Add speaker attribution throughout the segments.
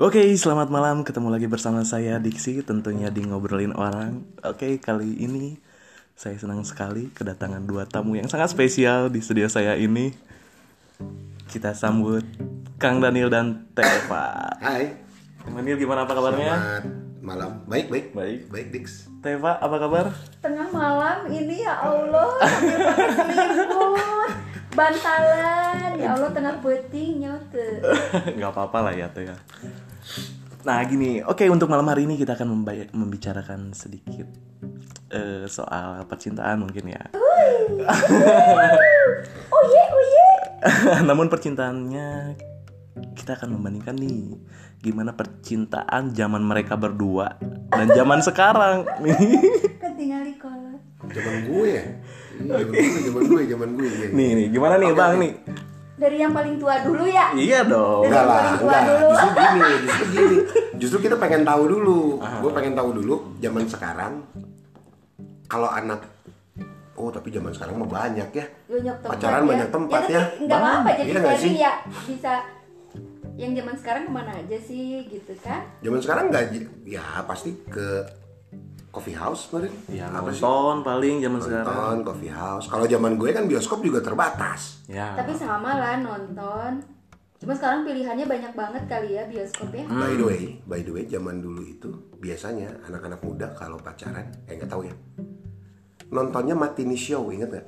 Speaker 1: Oke, selamat malam. Ketemu lagi bersama saya Diksi, tentunya di ngobrolin orang. Oke, kali ini saya senang sekali kedatangan dua tamu yang sangat spesial di studio saya ini. Kita sambut Kang Daniel dan Teva.
Speaker 2: Hai,
Speaker 1: Kang Daniel gimana apa kabarnya?
Speaker 2: selamat malam. Baik, baik,
Speaker 1: Baik.
Speaker 2: baik, Dix.
Speaker 1: Teva apa kabar?
Speaker 3: tengah malam ini ya Allah sambil pakai selimut bantalan ya Allah tengah peting nyote
Speaker 1: nggak apa-apa lah ya teh ya. Nah gini, oke untuk malam hari ini kita akan membay- membicarakan sedikit eh, soal percintaan mungkin ya.
Speaker 3: oh ye oh ye
Speaker 1: Namun percintaannya kita akan membandingkan nih gimana percintaan zaman mereka berdua dan zaman sekarang nih.
Speaker 3: ketinggalan kolot
Speaker 2: Zaman gue ya. Iya, Zaman gue, zaman gue, zaman gue. iya.
Speaker 1: Nih nih, gimana nih Bang nih?
Speaker 3: dari yang paling tua dulu ya
Speaker 1: Iya dong.
Speaker 2: Enggak lah,
Speaker 3: Dari
Speaker 2: enggak.
Speaker 3: gua dulu.
Speaker 2: Justru gini, justru gini. Justru kita pengen tahu dulu. Gue pengen tahu dulu zaman sekarang kalau anak Oh, tapi zaman sekarang mah banyak ya.
Speaker 3: banyak tempat Iya,
Speaker 2: Pacaran banyak tempat ya.
Speaker 3: tapi nggak apa-apa
Speaker 2: Bang,
Speaker 3: jadi
Speaker 2: iya nggak
Speaker 3: sharing
Speaker 2: sih?
Speaker 3: ya bisa yang zaman sekarang kemana aja sih gitu kan
Speaker 2: Zaman sekarang enggak ya pasti ke coffee house kemarin.
Speaker 1: Ya
Speaker 2: Iya, Apa sih?
Speaker 1: nonton paling zaman sekarang.
Speaker 2: Nonton coffee house. Kalau zaman gue kan bioskop juga terbatas.
Speaker 1: Ya.
Speaker 3: tapi sama lah nonton cuma sekarang pilihannya banyak banget kali ya bioskop ya
Speaker 2: By the way, by the way, zaman dulu itu biasanya anak-anak muda kalau pacaran, eh nggak tahu ya, nontonnya matini show, inget nggak?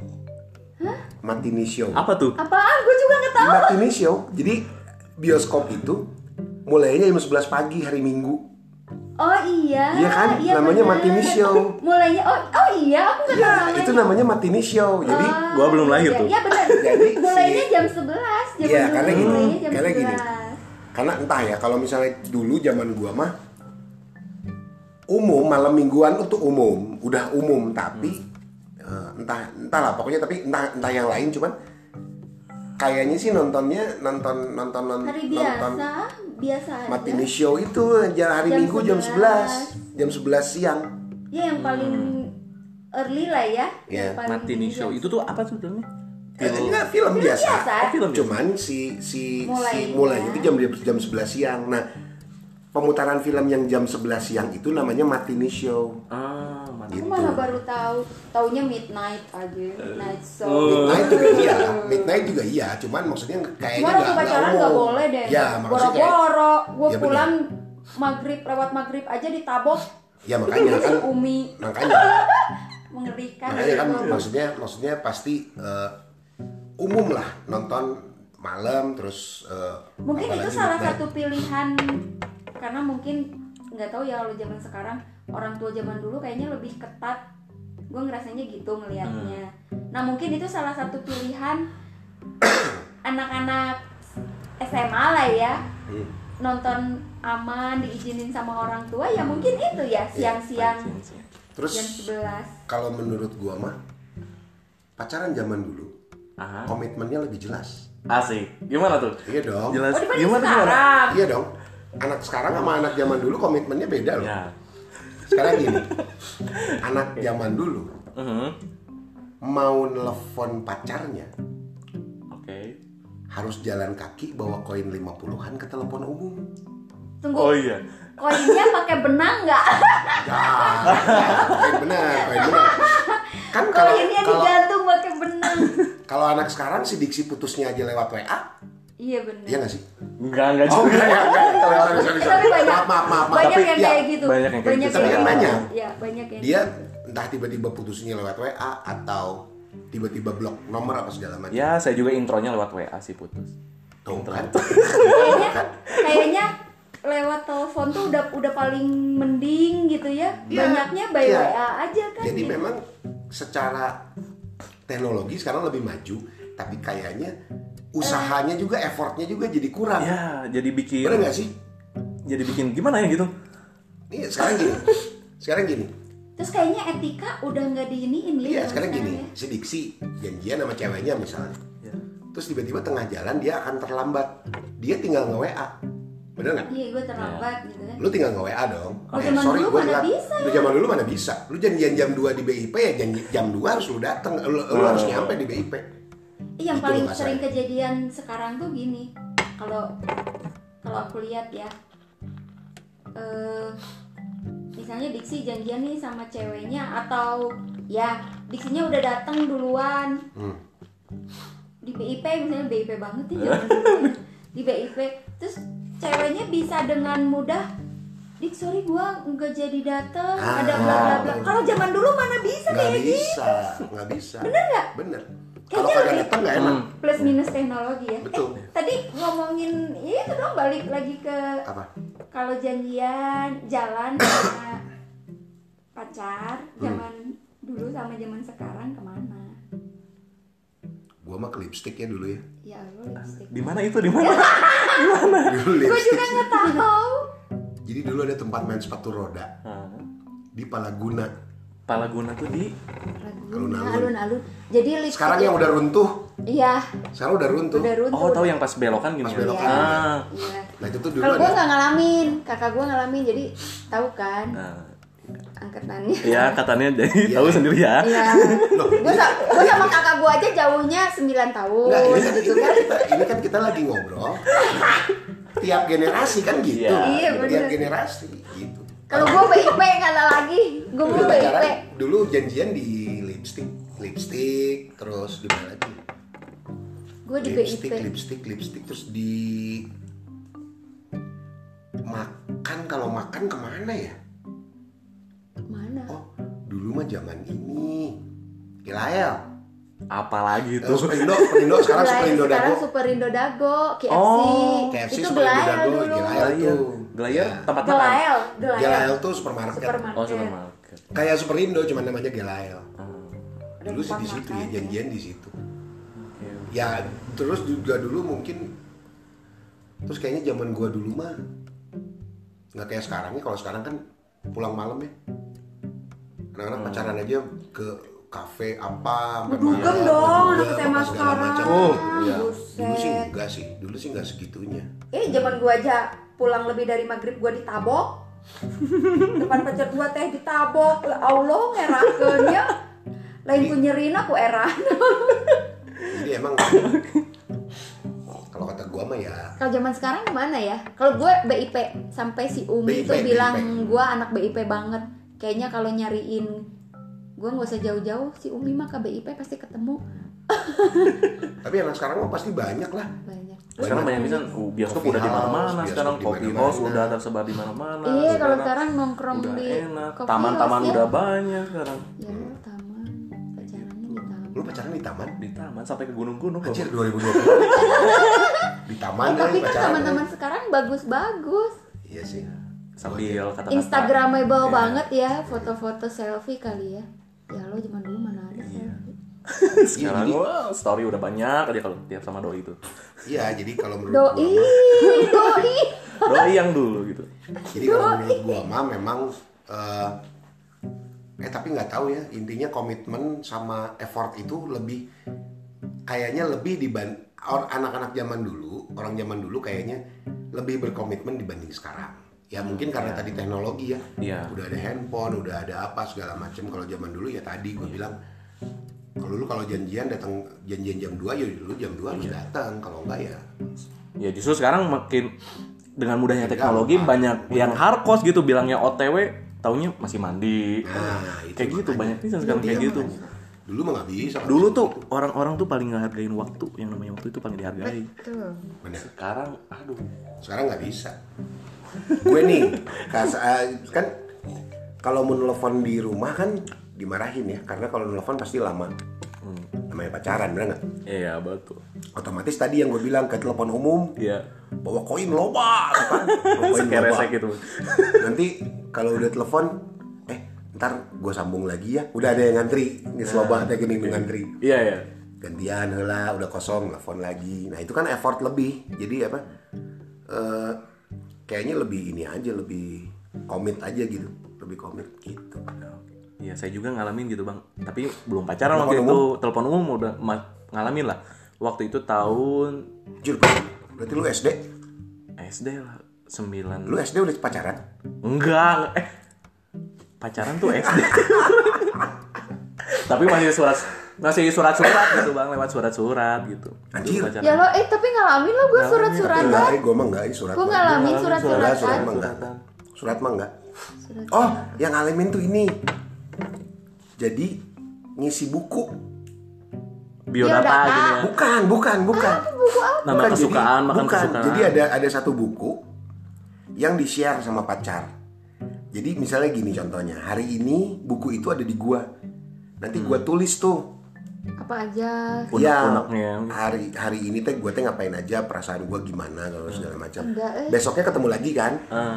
Speaker 2: Matini show.
Speaker 1: Apa tuh?
Speaker 3: apaan gue juga nggak tahu
Speaker 2: Matini show. Jadi bioskop itu mulainya jam 11 pagi hari Minggu.
Speaker 3: Oh iya.
Speaker 2: Iya kan? Namanya
Speaker 3: bener.
Speaker 2: Martini Show.
Speaker 3: Mulainya oh oh iya aku nggak tahu namanya.
Speaker 2: Itu namanya matini show. Jadi
Speaker 1: Gua belum lahir
Speaker 3: Iya,
Speaker 1: tuh.
Speaker 3: Iya benar.
Speaker 2: Jadi si-
Speaker 3: Mulainya jam 11, jam
Speaker 2: Iya, karena gini,
Speaker 3: mulainya jam
Speaker 2: karena gini.
Speaker 3: 11.
Speaker 2: karena entah ya, kalau misalnya dulu zaman gua mah umum malam mingguan itu umum, udah umum tapi eh, entah entahlah pokoknya tapi entah entah yang lain cuman kayaknya sih nontonnya nonton nonton non-
Speaker 3: Hari
Speaker 2: nonton
Speaker 3: biasa, biasa aja.
Speaker 2: Matini Show itu j- hari
Speaker 3: Jam
Speaker 2: Minggu jam 11,
Speaker 3: 11.
Speaker 2: jam 11 siang.
Speaker 3: Ya yang paling early lah ya.
Speaker 2: Hmm. Iya,
Speaker 3: Yang paling
Speaker 1: Martini
Speaker 3: jam-
Speaker 1: Show itu tuh apa tuh filmnya?
Speaker 2: Eh, enggak, film biasa.
Speaker 3: biasa. ya.
Speaker 1: Oh, film biasa.
Speaker 2: Cuman si si
Speaker 3: Mulainya.
Speaker 2: si mulai itu jam jam 11 siang. Nah, pemutaran film yang jam 11 siang itu namanya Matini Show.
Speaker 1: Ah, mati.
Speaker 2: gitu.
Speaker 3: Aku malah baru tahu, taunya midnight aja, midnight show.
Speaker 2: Midnight juga iya, midnight juga iya, cuman maksudnya kayaknya
Speaker 3: Cuma
Speaker 2: nggak
Speaker 3: waktu pacaran
Speaker 2: nggak
Speaker 3: nggak
Speaker 2: umum.
Speaker 3: boleh deh.
Speaker 2: Ya, maksudnya kayak-
Speaker 3: Boro-boro, gue
Speaker 2: Ya, bener.
Speaker 3: pulang maghrib lewat maghrib aja ditabok.
Speaker 2: Ya, makanya kan-
Speaker 3: Umi
Speaker 2: makanya
Speaker 3: mengerikan.
Speaker 2: makanya kan
Speaker 3: gitu.
Speaker 2: maksudnya maksudnya pasti eh, umum lah nonton malam terus eh, Nah,
Speaker 3: mungkin itu
Speaker 2: apalagi
Speaker 3: salah
Speaker 2: midnight.
Speaker 3: satu pilihan karena mungkin nggak tahu ya kalau zaman sekarang orang tua zaman dulu kayaknya lebih ketat gue ngerasanya gitu ngelihatnya nah mungkin itu salah satu pilihan anak-anak SMA lah ya
Speaker 2: Hmm.
Speaker 3: nonton aman diizinin sama orang tua ya mungkin itu ya siang-siang
Speaker 1: Iya.
Speaker 2: Terus
Speaker 3: jam 11
Speaker 2: kalau menurut gua mah pacaran zaman dulu
Speaker 1: Aha.
Speaker 2: komitmennya lebih jelas.
Speaker 1: Asik. Gimana tuh?
Speaker 2: Iya dong.
Speaker 1: Jelas.
Speaker 3: oh dibanding
Speaker 1: Gimana gimana?
Speaker 3: sekarang
Speaker 2: Iya dong. Anak sekarang sama anak zaman dulu komitmennya beda loh.
Speaker 1: Ya.
Speaker 2: Sekarang gini. anak zaman dulu
Speaker 1: Mhm.
Speaker 2: mau nelfon pacarnya
Speaker 1: Oke.
Speaker 2: harus jalan kaki bawa koin 50-an ke telepon umum.
Speaker 3: tunggu
Speaker 1: Oh iya.
Speaker 3: koinnya pakai benang nggak
Speaker 2: Ya, koin benar, koin benar. Kan kalau
Speaker 3: koinnya
Speaker 2: kalau
Speaker 3: digantung pakai benang
Speaker 2: kalau anak sekarang si diksi putusnya aja lewat WA,
Speaker 3: iya benar
Speaker 2: iya nggak sih?
Speaker 1: Enggak, enggak
Speaker 2: Oh,
Speaker 1: juga.
Speaker 2: enggak, enggak, enggak, enggak, sorry, sorry, sorry.
Speaker 3: tapi banyak
Speaker 2: Maaf, maaf, maaf, maaf.
Speaker 3: banyak
Speaker 2: Tapi
Speaker 3: yang
Speaker 2: ya,
Speaker 3: kayak gitu
Speaker 1: banyak yang kayak gitu.
Speaker 2: Tapi kan banyak.
Speaker 3: ya banyak yang
Speaker 2: dia entah tiba-tiba putusnya lewat WA atau tiba-tiba blok nomor apa segala macam.
Speaker 1: Ya, saya juga intronya lewat WA sih putus.
Speaker 2: Tuh kan.
Speaker 3: kayaknya gitu. kayaknya lewat telepon tuh udah udah paling mending gitu ya
Speaker 2: Iya.
Speaker 3: banyaknya by
Speaker 2: Iya.
Speaker 3: WA aja kan
Speaker 2: Jadi
Speaker 3: gitu.
Speaker 2: memang secara teknologi sekarang lebih maju, tapi kayaknya usahanya juga effortnya juga jadi kurang.
Speaker 1: Ya, jadi bikin
Speaker 2: Bener nggak sih?
Speaker 1: jadi bikin gimana ya gitu?
Speaker 2: Iya sekarang gini, sekarang gini.
Speaker 3: terus kayaknya etika udah nggak diiniin ya
Speaker 2: Iya
Speaker 3: kalau
Speaker 2: sekarang gini.
Speaker 3: ya.
Speaker 2: Si Diksi janjian sama ceweknya misalnya,
Speaker 1: Ya.
Speaker 2: terus tiba-tiba tengah jalan dia akan terlambat. Dia tinggal nge WA, bener nggak?
Speaker 3: iya gue terlambat gitu kan
Speaker 2: lu tinggal nge WA dong. Eh,
Speaker 3: Oh, zaman dulu
Speaker 2: gua
Speaker 3: mana
Speaker 2: telat.
Speaker 3: bisa ya?
Speaker 2: Lu zaman dulu mana bisa? Lu janjian jam 2 di BIP ya, janji jam 2 harus lu datang, lu, lu
Speaker 1: Oh.
Speaker 2: harus nyampe di BIP.
Speaker 3: Ih, Iya, yang
Speaker 2: Gitu
Speaker 3: paling
Speaker 2: loh,
Speaker 3: sering kejadian sekarang tuh gini kalau kalau aku lihat ya eh, misalnya Diksi janjian nih sama ceweknya atau ya Diksinya udah datang duluan
Speaker 2: Hmm.
Speaker 3: di BIP misalnya BIP banget ya zaman dulu ya. di BIP terus ceweknya bisa dengan mudah Dik sorry gua nggak jadi dateng
Speaker 2: Ah.
Speaker 3: ada bla bla bla kalau zaman dulu mana bisa
Speaker 2: nggak
Speaker 3: kayak gitu
Speaker 2: bisa nggak bisa
Speaker 3: Bener nggak?
Speaker 2: bener kalau
Speaker 3: Kayaknya
Speaker 2: kagak
Speaker 3: lebih-
Speaker 2: datang nggak enak
Speaker 3: gitu? plus minus teknologi ya
Speaker 2: Betul.
Speaker 3: Eh, tadi ngomongin ya itu dong balik lagi ke
Speaker 2: apa
Speaker 3: kalau janjian jalan sama pacar
Speaker 2: Hmm.
Speaker 3: zaman dulu sama zaman sekarang kemana
Speaker 2: gua mah ke lipstick ya dulu ya
Speaker 3: ya lu lipstick
Speaker 1: Di mana itu? Di mana?
Speaker 2: dulu
Speaker 3: gue
Speaker 2: lipstick
Speaker 3: juga
Speaker 2: sih.
Speaker 3: nggak tahu
Speaker 2: jadi dulu ada tempat main sepatu roda di Palaguna
Speaker 1: Palaguna Nah, tuh di
Speaker 3: Ragunan, alun-alun jadi lipstick
Speaker 2: sekarang yang udah runtuh
Speaker 3: iya
Speaker 2: sekarang udah runtuh
Speaker 3: ya? udah runtuh
Speaker 1: Oh, tahu yang pas belokan gini.
Speaker 2: Pas
Speaker 1: ya?
Speaker 2: belokan.
Speaker 1: Ah.
Speaker 3: iya
Speaker 2: nah itu tuh dulu
Speaker 3: kalau gue
Speaker 2: ada
Speaker 3: nggak ngalamin kakak gue ngalamin jadi tahu kan
Speaker 2: Iya.
Speaker 1: Nah,
Speaker 3: angkatannya
Speaker 1: ya katanya jadi tahu sendiri ya.
Speaker 3: iya
Speaker 2: Loh,
Speaker 3: gue sa- gua sama kakak gue aja jauhnya 9 tahun
Speaker 2: Nggak, ini, kan, ini kan
Speaker 3: gitu kan
Speaker 2: kita, ini kan kita lagi ngobrol tiap generasi kan gitu
Speaker 1: Iya.
Speaker 3: Iya,
Speaker 2: tiap
Speaker 3: bener.
Speaker 2: generasi gitu
Speaker 3: kalau gue BIP nggak ada lagi gue
Speaker 2: dulu
Speaker 3: mau
Speaker 2: pacaran,
Speaker 3: BIP
Speaker 2: dulu janjian di lipstick lipstick terus di mana lagi
Speaker 3: gue di BIP
Speaker 2: lipstick lipstick lipstick terus di makan kalau makan kemana ya
Speaker 3: mana
Speaker 2: oh dulu mah zaman ini Ilael
Speaker 1: Apalagi itu.
Speaker 2: Terus Superindo, Superindo sekarang
Speaker 3: Gelai-
Speaker 2: Superindo
Speaker 3: sekarang
Speaker 2: Dago.
Speaker 3: Superindo Dago KFC
Speaker 1: Oh,
Speaker 2: KFC
Speaker 3: itu
Speaker 2: Superindo
Speaker 3: Gelael
Speaker 2: Dago,
Speaker 3: dulu
Speaker 2: Gelael
Speaker 1: Glayer,
Speaker 2: tuh.
Speaker 1: Glayer
Speaker 2: Ya.
Speaker 1: tempat makan.
Speaker 3: Gelael Gelael
Speaker 2: Gelael tuh supermarket.
Speaker 3: supermarket
Speaker 1: Oh, supermarket.
Speaker 2: Kayak Superindo cuman namanya Gelael.
Speaker 1: Ah.
Speaker 3: Ada
Speaker 2: Dulu sih
Speaker 3: tempat
Speaker 2: di situ ya,
Speaker 3: makan,
Speaker 2: janjian di situ.
Speaker 1: Oke.
Speaker 2: Ya, terus juga dulu mungkin terus kayaknya zaman gua dulu mah nggak kayak sekarang nih kalau sekarang kan pulang malam ya. Anak-anak
Speaker 1: Hmm.
Speaker 2: pacaran aja ke kafe apa sampai
Speaker 3: Ngedugem
Speaker 2: malam,
Speaker 3: dong, anak
Speaker 2: ngedugem,
Speaker 3: SMA
Speaker 2: apa segala macam.
Speaker 3: sekarang.
Speaker 2: Iya.
Speaker 3: Buset.
Speaker 2: Dulu sih enggak sih, dulu sih enggak segitunya.
Speaker 3: Eh zaman gua aja pulang lebih dari maghrib gua ditabok. Depan pacar gua teh ditabok. Ya Allah ngerakeun ya. Lain ku nyerina ku eran.
Speaker 2: Jadi emang kalau kata gua mah ya
Speaker 3: Kalau zaman sekarang gimana ya? Kalau gue BIP sampai si Umi
Speaker 2: BIP,
Speaker 3: tuh bilang
Speaker 2: BIP.
Speaker 3: gua anak BIP banget. Kayaknya kalau nyariin gua nggak usah jauh-jauh si Umi mah ke BIP pasti ketemu
Speaker 2: tapi anak sekarang mah pasti banyak lah.
Speaker 3: banyak.
Speaker 1: Sekarang banyak bisa uh, bioskop
Speaker 2: Coffee
Speaker 1: udah di
Speaker 2: house,
Speaker 1: mana-mana
Speaker 2: bioskop
Speaker 1: sekarang
Speaker 2: di
Speaker 1: kopi
Speaker 2: mana-mana.
Speaker 1: house udah tersebar di mana-mana.
Speaker 3: Iya kalau
Speaker 1: Sekarang
Speaker 3: sekarang nongkrong
Speaker 1: udah
Speaker 3: di
Speaker 1: enak.
Speaker 3: coffee
Speaker 1: Taman-taman
Speaker 3: house ya.
Speaker 1: udah banyak sekarang.
Speaker 3: Ya taman pacarannya di taman. Eh,
Speaker 2: Lu pacaran di taman?
Speaker 1: Di taman sampai ke gunung-gunung loh.
Speaker 2: Anjir 2020. di taman
Speaker 3: Eh, tapi
Speaker 2: eh,
Speaker 3: kan teman-teman sekarang bagus-bagus.
Speaker 2: Iya sih.
Speaker 1: Sambil kata-kata.
Speaker 3: Instagramable
Speaker 1: Iya.
Speaker 3: banget ya foto-foto selfie kali ya. Ya lo zaman dulu mana
Speaker 1: Iya.
Speaker 3: ada selfie.
Speaker 1: Sekarang
Speaker 2: Iya, jadi-
Speaker 1: wah, story udah banyak aja kalau tiap sama doi gitu. itu.
Speaker 2: Iya, jadi kalau menurut
Speaker 3: Doi,
Speaker 2: gua mah-
Speaker 3: doi.
Speaker 1: Doi yang dulu gitu.
Speaker 2: jadi kalau menurut gua mah memang eh, eh tapi nggak tahu ya, intinya komitmen sama effort itu lebih kayaknya lebih diban or- anak-anak zaman dulu, orang zaman dulu kayaknya lebih berkomitmen dibanding sekarang. Ya mungkin karena tadi teknologi ya.
Speaker 1: Iya.
Speaker 2: Udah ada handphone, udah ada apa segala macem Kalau zaman dulu ya tadi gue bilang kalau lu kalau janjian datang janjian jam 2 ya dulu jam 2 harus datang. Kalau enggak ya
Speaker 1: Ya justru sekarang makin dengan mudahnya
Speaker 2: Makin
Speaker 1: teknologi
Speaker 2: gampang.
Speaker 1: banyak yang hardcore gitu bilangnya OTW taunya masih mandi.
Speaker 2: Nah, itu
Speaker 1: kayak gitu
Speaker 2: makanya.
Speaker 1: banyak bisa sekarang kayak gitu.
Speaker 2: dulu mah nggak bisa. nggak
Speaker 1: Dulu
Speaker 2: bisa.
Speaker 1: tuh orang-orang tuh paling ngehargain waktu, yang namanya waktu itu paling dihargai.
Speaker 3: Betul.
Speaker 2: Bener.
Speaker 1: Sekarang aduh.
Speaker 2: sekarang nggak bisa gue nih kas- eh, kan kalau mau nelfon di rumah kan dimarahin ya karena kalau nelfon pasti lama namanya pacaran bener nggak
Speaker 1: Iya, betul.
Speaker 2: otomatis tadi yang gue bilang ke telepon umum
Speaker 1: Iya.
Speaker 2: bawa koin loba kan? Bawa koin
Speaker 1: Kayak
Speaker 2: loba.
Speaker 1: resek gitu.
Speaker 2: nanti kalau udah telepon eh ntar gue sambung lagi ya udah ada yang ngantri ini loba teh gini ngantri
Speaker 1: Iya, iya.
Speaker 2: gantian lah udah kosong telepon lagi nah itu kan effort lebih jadi apa eh, kayaknya lebih ini aja lebih komit aja gitu lebih komit gitu
Speaker 1: Iya, saya juga ngalamin gitu, Bang. Tapi belum pacaran
Speaker 2: Telepon
Speaker 1: waktu itu. Telepon umum udah ma- ngalamin lah. Waktu itu tahun
Speaker 2: jujur Pak, berarti lu SD
Speaker 1: SD lah, 9
Speaker 2: lu SD udah pacaran
Speaker 1: Enggak, eh pacaran tuh SD. Tapi masih surat masih surat-surat gitu bang lewat surat-surat gitu.
Speaker 2: Anjir.
Speaker 1: Dulu pacaran.
Speaker 3: Ya lo eh tapi ngalamin lo gue surat-suratan.
Speaker 2: enggak eh, gua mah enggak ini surat
Speaker 3: Gue
Speaker 2: mah.
Speaker 1: Ngalamin
Speaker 3: ngalamin
Speaker 1: surat-suratan.
Speaker 3: surat-suratan.
Speaker 2: Surat mah enggak. Surat mah enggak.
Speaker 3: Surat
Speaker 2: Oh, yang ngalamin tuh ini. Jadi ngisi buku.
Speaker 1: biodata,
Speaker 3: Biodata.
Speaker 1: gitu ya
Speaker 2: Bukan, bukan, bukan.
Speaker 1: nama
Speaker 2: Bukan, jadi-
Speaker 1: kesukaan makan
Speaker 2: bukan.
Speaker 1: kesukaan
Speaker 2: Jadi ya, ada ada satu buku yang di-share sama pacar. Jadi misalnya gini contohnya, hari ini buku itu ada di gua. Nanti gua
Speaker 1: Hmm.
Speaker 2: tulis tuh ya,
Speaker 3: apa aja
Speaker 1: unek-uneknya
Speaker 2: hari hari ini teh gue teh ngapain aja perasaan gue gimana kalau
Speaker 1: Hmm.
Speaker 2: segala macam
Speaker 3: Enggak, eh.
Speaker 2: besoknya ketemu lagi kan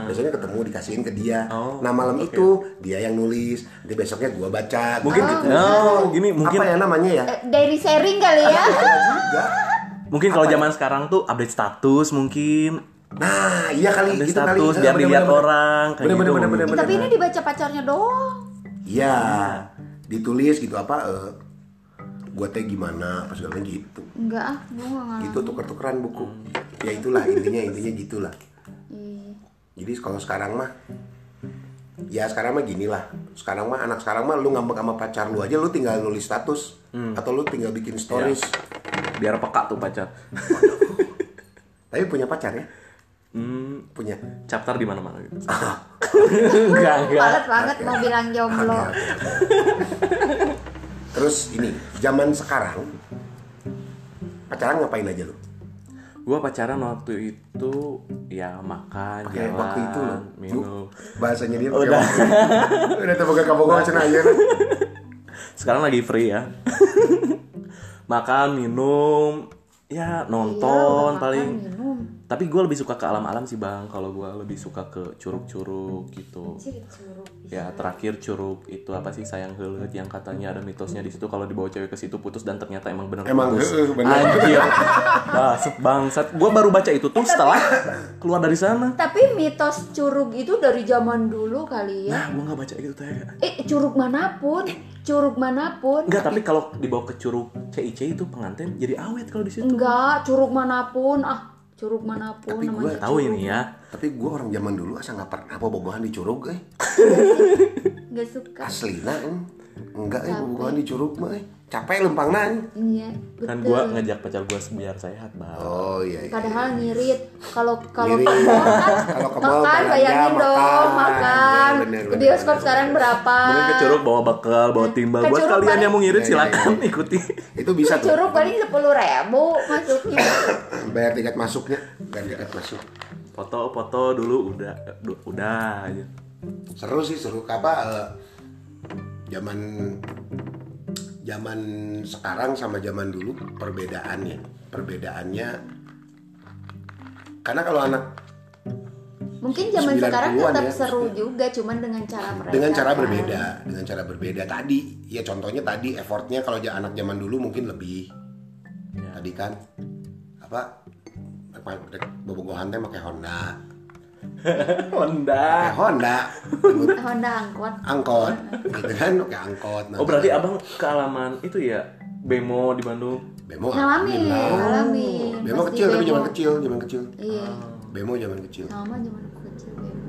Speaker 2: besoknya ketemu dikasihin ke dia
Speaker 1: Oh,
Speaker 2: nah malam
Speaker 1: oke.
Speaker 2: itu dia yang nulis nanti besoknya gue baca
Speaker 1: mungkin
Speaker 2: Nah,
Speaker 1: no, gini mungkin
Speaker 2: apa ya namanya ya
Speaker 3: Eh, diary sharing kali ya
Speaker 2: Juga.
Speaker 1: mungkin kalau
Speaker 2: ya?
Speaker 1: zaman sekarang tuh update status mungkin
Speaker 2: nah iya kali
Speaker 1: update
Speaker 2: itu kali
Speaker 1: status
Speaker 2: Eh,
Speaker 1: biar
Speaker 2: bener,
Speaker 1: dilihat
Speaker 2: bener, bener.
Speaker 1: orang kayak
Speaker 2: Bener,
Speaker 1: gitu
Speaker 2: bener, bener,
Speaker 1: mungkin.
Speaker 2: bener,
Speaker 3: tapi
Speaker 2: bener.
Speaker 3: ini dibaca pacarnya doang
Speaker 2: iya ditulis gitu apa eh, gue teh gimana apa segala macam gitu
Speaker 3: enggak ah gue nggak ngalamin
Speaker 2: gitu tuker-tukeran buku ya itulah intinya intinya gitulah
Speaker 3: Iya.
Speaker 2: Jadi kalau sekarang mah ya sekarang mah gini lah. Sekarang mah anak sekarang mah lu ngambek sama pacar lu aja lu tinggal nulis status atau lu tinggal bikin stories.
Speaker 1: biar peka tuh pacar
Speaker 2: Tapi punya pacar ya?
Speaker 1: hmm,
Speaker 2: Punya.
Speaker 1: chapter di mana-mana gitu enggak enggak
Speaker 3: Males banget mau bilang
Speaker 2: Oke,
Speaker 3: jomblo
Speaker 2: oke, oke. Terus ini, zaman sekarang pacaran ngapain aja lu?
Speaker 1: gue pacaran waktu itu ya makan jalan
Speaker 2: Pakai Iya, waktu itu lu.
Speaker 1: minum
Speaker 2: Bahasanya dia
Speaker 1: Udah.
Speaker 2: waktu. Iya. Udah teboga kabogoh cenah aja. lu.
Speaker 1: sekarang lagi free ya makan minum ya
Speaker 3: Iya, udah
Speaker 1: nonton
Speaker 3: makan,
Speaker 1: paling
Speaker 3: minum.
Speaker 1: tapi gue lebih suka ke alam-alam sih bang kalau gue lebih suka ke curug-curug gitu ya terakhir curug itu apa sih sayang heuleut
Speaker 2: Hmm.
Speaker 1: yang katanya ada mitosnya di situ kalau dibawa cewek ke situ putus dan ternyata emang bener
Speaker 2: Emang
Speaker 1: putus
Speaker 2: heueuh, bener.
Speaker 1: anjir bangsat bangsat gue baru baca itu tuh setelah keluar dari sana
Speaker 3: tapi mitos curug itu dari zaman dulu kali ya
Speaker 1: nah gue nggak baca itu teh
Speaker 3: eh curug manapun curug manapun
Speaker 1: Enggak, tapi kalau dibawa ke curug CIC itu pengantin jadi awet kalau di situ.
Speaker 3: enggak curug manapun ah curug manapun
Speaker 2: Tapi
Speaker 3: namanya
Speaker 2: gua-
Speaker 1: Tahu ini ya.
Speaker 2: Tapi gua orang zaman dulu asa nggak pernah bobogohan di curug eh.
Speaker 3: nggak suka
Speaker 2: Aslina em. Enggak eh bobogohan di curug mah eh. Capek lempang eh.
Speaker 3: iya
Speaker 1: Kan
Speaker 3: betul
Speaker 1: gua ngajak pacar gua biar sehat, Bang.
Speaker 2: Oh iya. iya.
Speaker 3: padahal ngirit kalau kalau
Speaker 2: Ngirit.
Speaker 3: ke mall kan
Speaker 2: Kalau ke mall
Speaker 3: makan
Speaker 2: belanja,
Speaker 3: bayangin dong
Speaker 2: makan. Iya,
Speaker 3: makan
Speaker 2: Bener, bener,
Speaker 3: ke
Speaker 2: bener,
Speaker 3: bioskop
Speaker 2: bener,
Speaker 3: sekarang berapa
Speaker 1: Mungkin ke curug bawa bekal, bawa timbal.
Speaker 3: Ah. Ke
Speaker 1: Buat
Speaker 3: curug
Speaker 1: kalian
Speaker 3: paling-
Speaker 1: yang mau ngirit
Speaker 2: Iya, iya, iya.
Speaker 1: silakan ikuti.
Speaker 2: Itu bisa tuh.
Speaker 3: curug paling sepuluh ribu masuknya
Speaker 2: Bayar tiket masuknya, bayar tiket masuk.
Speaker 1: Foto-foto dulu udah eh, du- udah gitu. aja.
Speaker 2: Seru sih seru apa eh, zaman zaman sekarang sama zaman dulu perbedaannya. Perbedaannya karena kalau anak
Speaker 3: mungkin zaman sekarang
Speaker 2: 90-an
Speaker 3: tetap
Speaker 2: ya.
Speaker 3: seru juga cuman dengan cara mereka
Speaker 2: dengan cara
Speaker 3: kan.
Speaker 2: berbeda, dengan cara berbeda tadi, ya contohnya tadi effortnya kalau ja- anak zaman dulu mungkin lebih.
Speaker 1: Ya.
Speaker 2: Tadi kan apa bobogohan teh pakai
Speaker 1: Ah.
Speaker 2: Honda. Pakai
Speaker 1: Honda.
Speaker 2: Honda.
Speaker 3: Honda angkot
Speaker 2: angkot gitu kan oke angkot nah,
Speaker 1: Oh, berarti Abang ke alaman itu ya Bemo di Bandung.
Speaker 2: bemo
Speaker 3: ngalamin
Speaker 2: alhamdulillah.
Speaker 3: ngalamin
Speaker 2: bemo
Speaker 3: Pasti
Speaker 2: kecil tapi
Speaker 3: bemo.
Speaker 2: zaman kecil zaman kecil
Speaker 3: iya
Speaker 2: bemo zaman kecil
Speaker 3: sama zaman aku kecil bemo.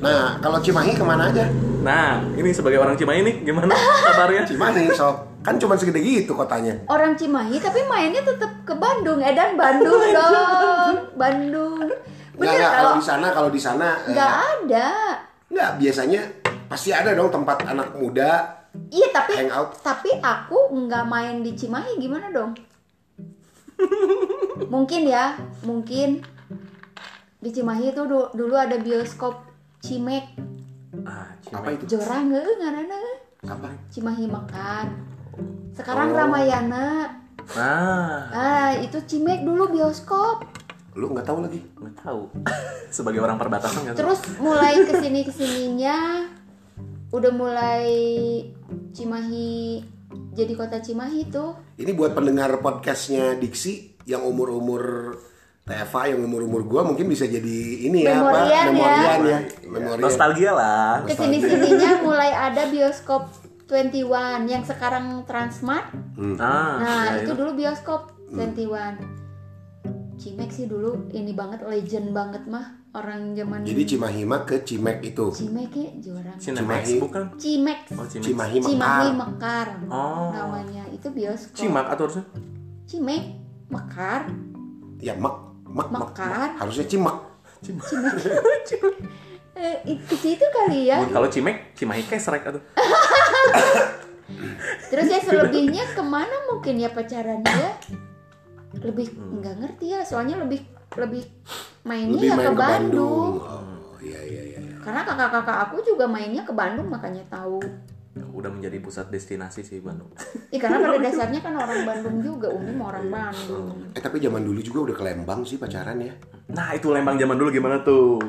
Speaker 2: nah kalau Cimahi kemana aja
Speaker 1: Nah, ini sebagai orang Cimahi nih gimana kabarnya?
Speaker 2: Cimahi sob kan cuma segede gitu kotanya
Speaker 3: orang Cimahi tapi mainnya tetap ke Bandung eh dan Bandung dong Bandung
Speaker 2: Nggak,
Speaker 3: bener
Speaker 2: nggak,
Speaker 3: kalau
Speaker 2: di sana kalau di sana eh,
Speaker 3: nggak ada
Speaker 2: nggak biasanya pasti ada dong tempat anak muda
Speaker 3: iya tapi
Speaker 2: Hangout.
Speaker 3: tapi aku nggak main di Cimahi gimana dong mungkin ya mungkin di Cimahi itu du- dulu ada bioskop Cimek
Speaker 1: Ah, Cimahi.
Speaker 2: apa itu
Speaker 3: jorang nggak ngarana
Speaker 2: apa
Speaker 3: Cimahi makan
Speaker 2: Oh.
Speaker 3: sekarang Ramayana
Speaker 1: Nah,
Speaker 3: ah itu Cimek dulu bioskop
Speaker 2: lu nggak tahu lagi
Speaker 1: nggak tahu. sebagai orang perbatasan kan? nggak tahu.
Speaker 3: Terus mulai kesini kesininya udah mulai Cimahi jadi kota Cimahi tuh.
Speaker 2: ini buat pendengar podcastnya Diksi yang umur umur TFA yang umur umur gua mungkin bisa jadi ini ya
Speaker 3: Memorian
Speaker 2: apa
Speaker 3: ya.
Speaker 2: memorian
Speaker 1: Iya,
Speaker 2: ya, memorian
Speaker 1: Nostalgia lah.
Speaker 3: Kesini sininya mulai ada bioskop 21 yang sekarang Transmart.
Speaker 1: Ah,
Speaker 3: Nah
Speaker 2: iya,
Speaker 1: ya,
Speaker 3: itu dulu bioskop
Speaker 2: Hmm.
Speaker 3: 21. Cimek sih dulu ini banget legend banget mah orang zaman
Speaker 2: Jadi Cimahi mah ke Cimek itu.
Speaker 3: Cimek ya jorang.
Speaker 1: Cinemax
Speaker 2: Cimahi.
Speaker 1: bukan?
Speaker 3: Cimek.
Speaker 1: Oh, Cimahi.
Speaker 2: Cimahi
Speaker 3: Cimahi
Speaker 2: Mekar.
Speaker 3: Mekar
Speaker 1: Oh.
Speaker 3: namanya itu bioskop.
Speaker 1: Cimak atau harusnya?
Speaker 3: Cimek Mekar
Speaker 2: Ya Mek, Mek, Mek.
Speaker 3: Mekar
Speaker 2: Harusnya Cimek.
Speaker 1: Cimak.
Speaker 3: eh, it- ke situ kali ya
Speaker 1: Kalau Cimek, Cimahi kesrek atau
Speaker 3: terus ya selebihnya kemana mungkin ya pacaran dia lebih nggak ngerti ya soalnya lebih lebih mainnya
Speaker 2: Hmm. lebih
Speaker 3: ya
Speaker 2: main
Speaker 3: ke, Bandung.
Speaker 2: Oh, iya iya iya.
Speaker 3: karena kakak-kakak aku juga mainnya ke Bandung makanya tahu
Speaker 1: udah menjadi pusat destinasi sih Bandung.
Speaker 3: Ih, karena pada dasarnya kan orang Bandung juga Umi mau orang Bandung
Speaker 2: Eh tapi zaman dulu juga udah ke Lembang sih pacaran ya.
Speaker 1: Nah, itu Lembang zaman dulu gimana tuh?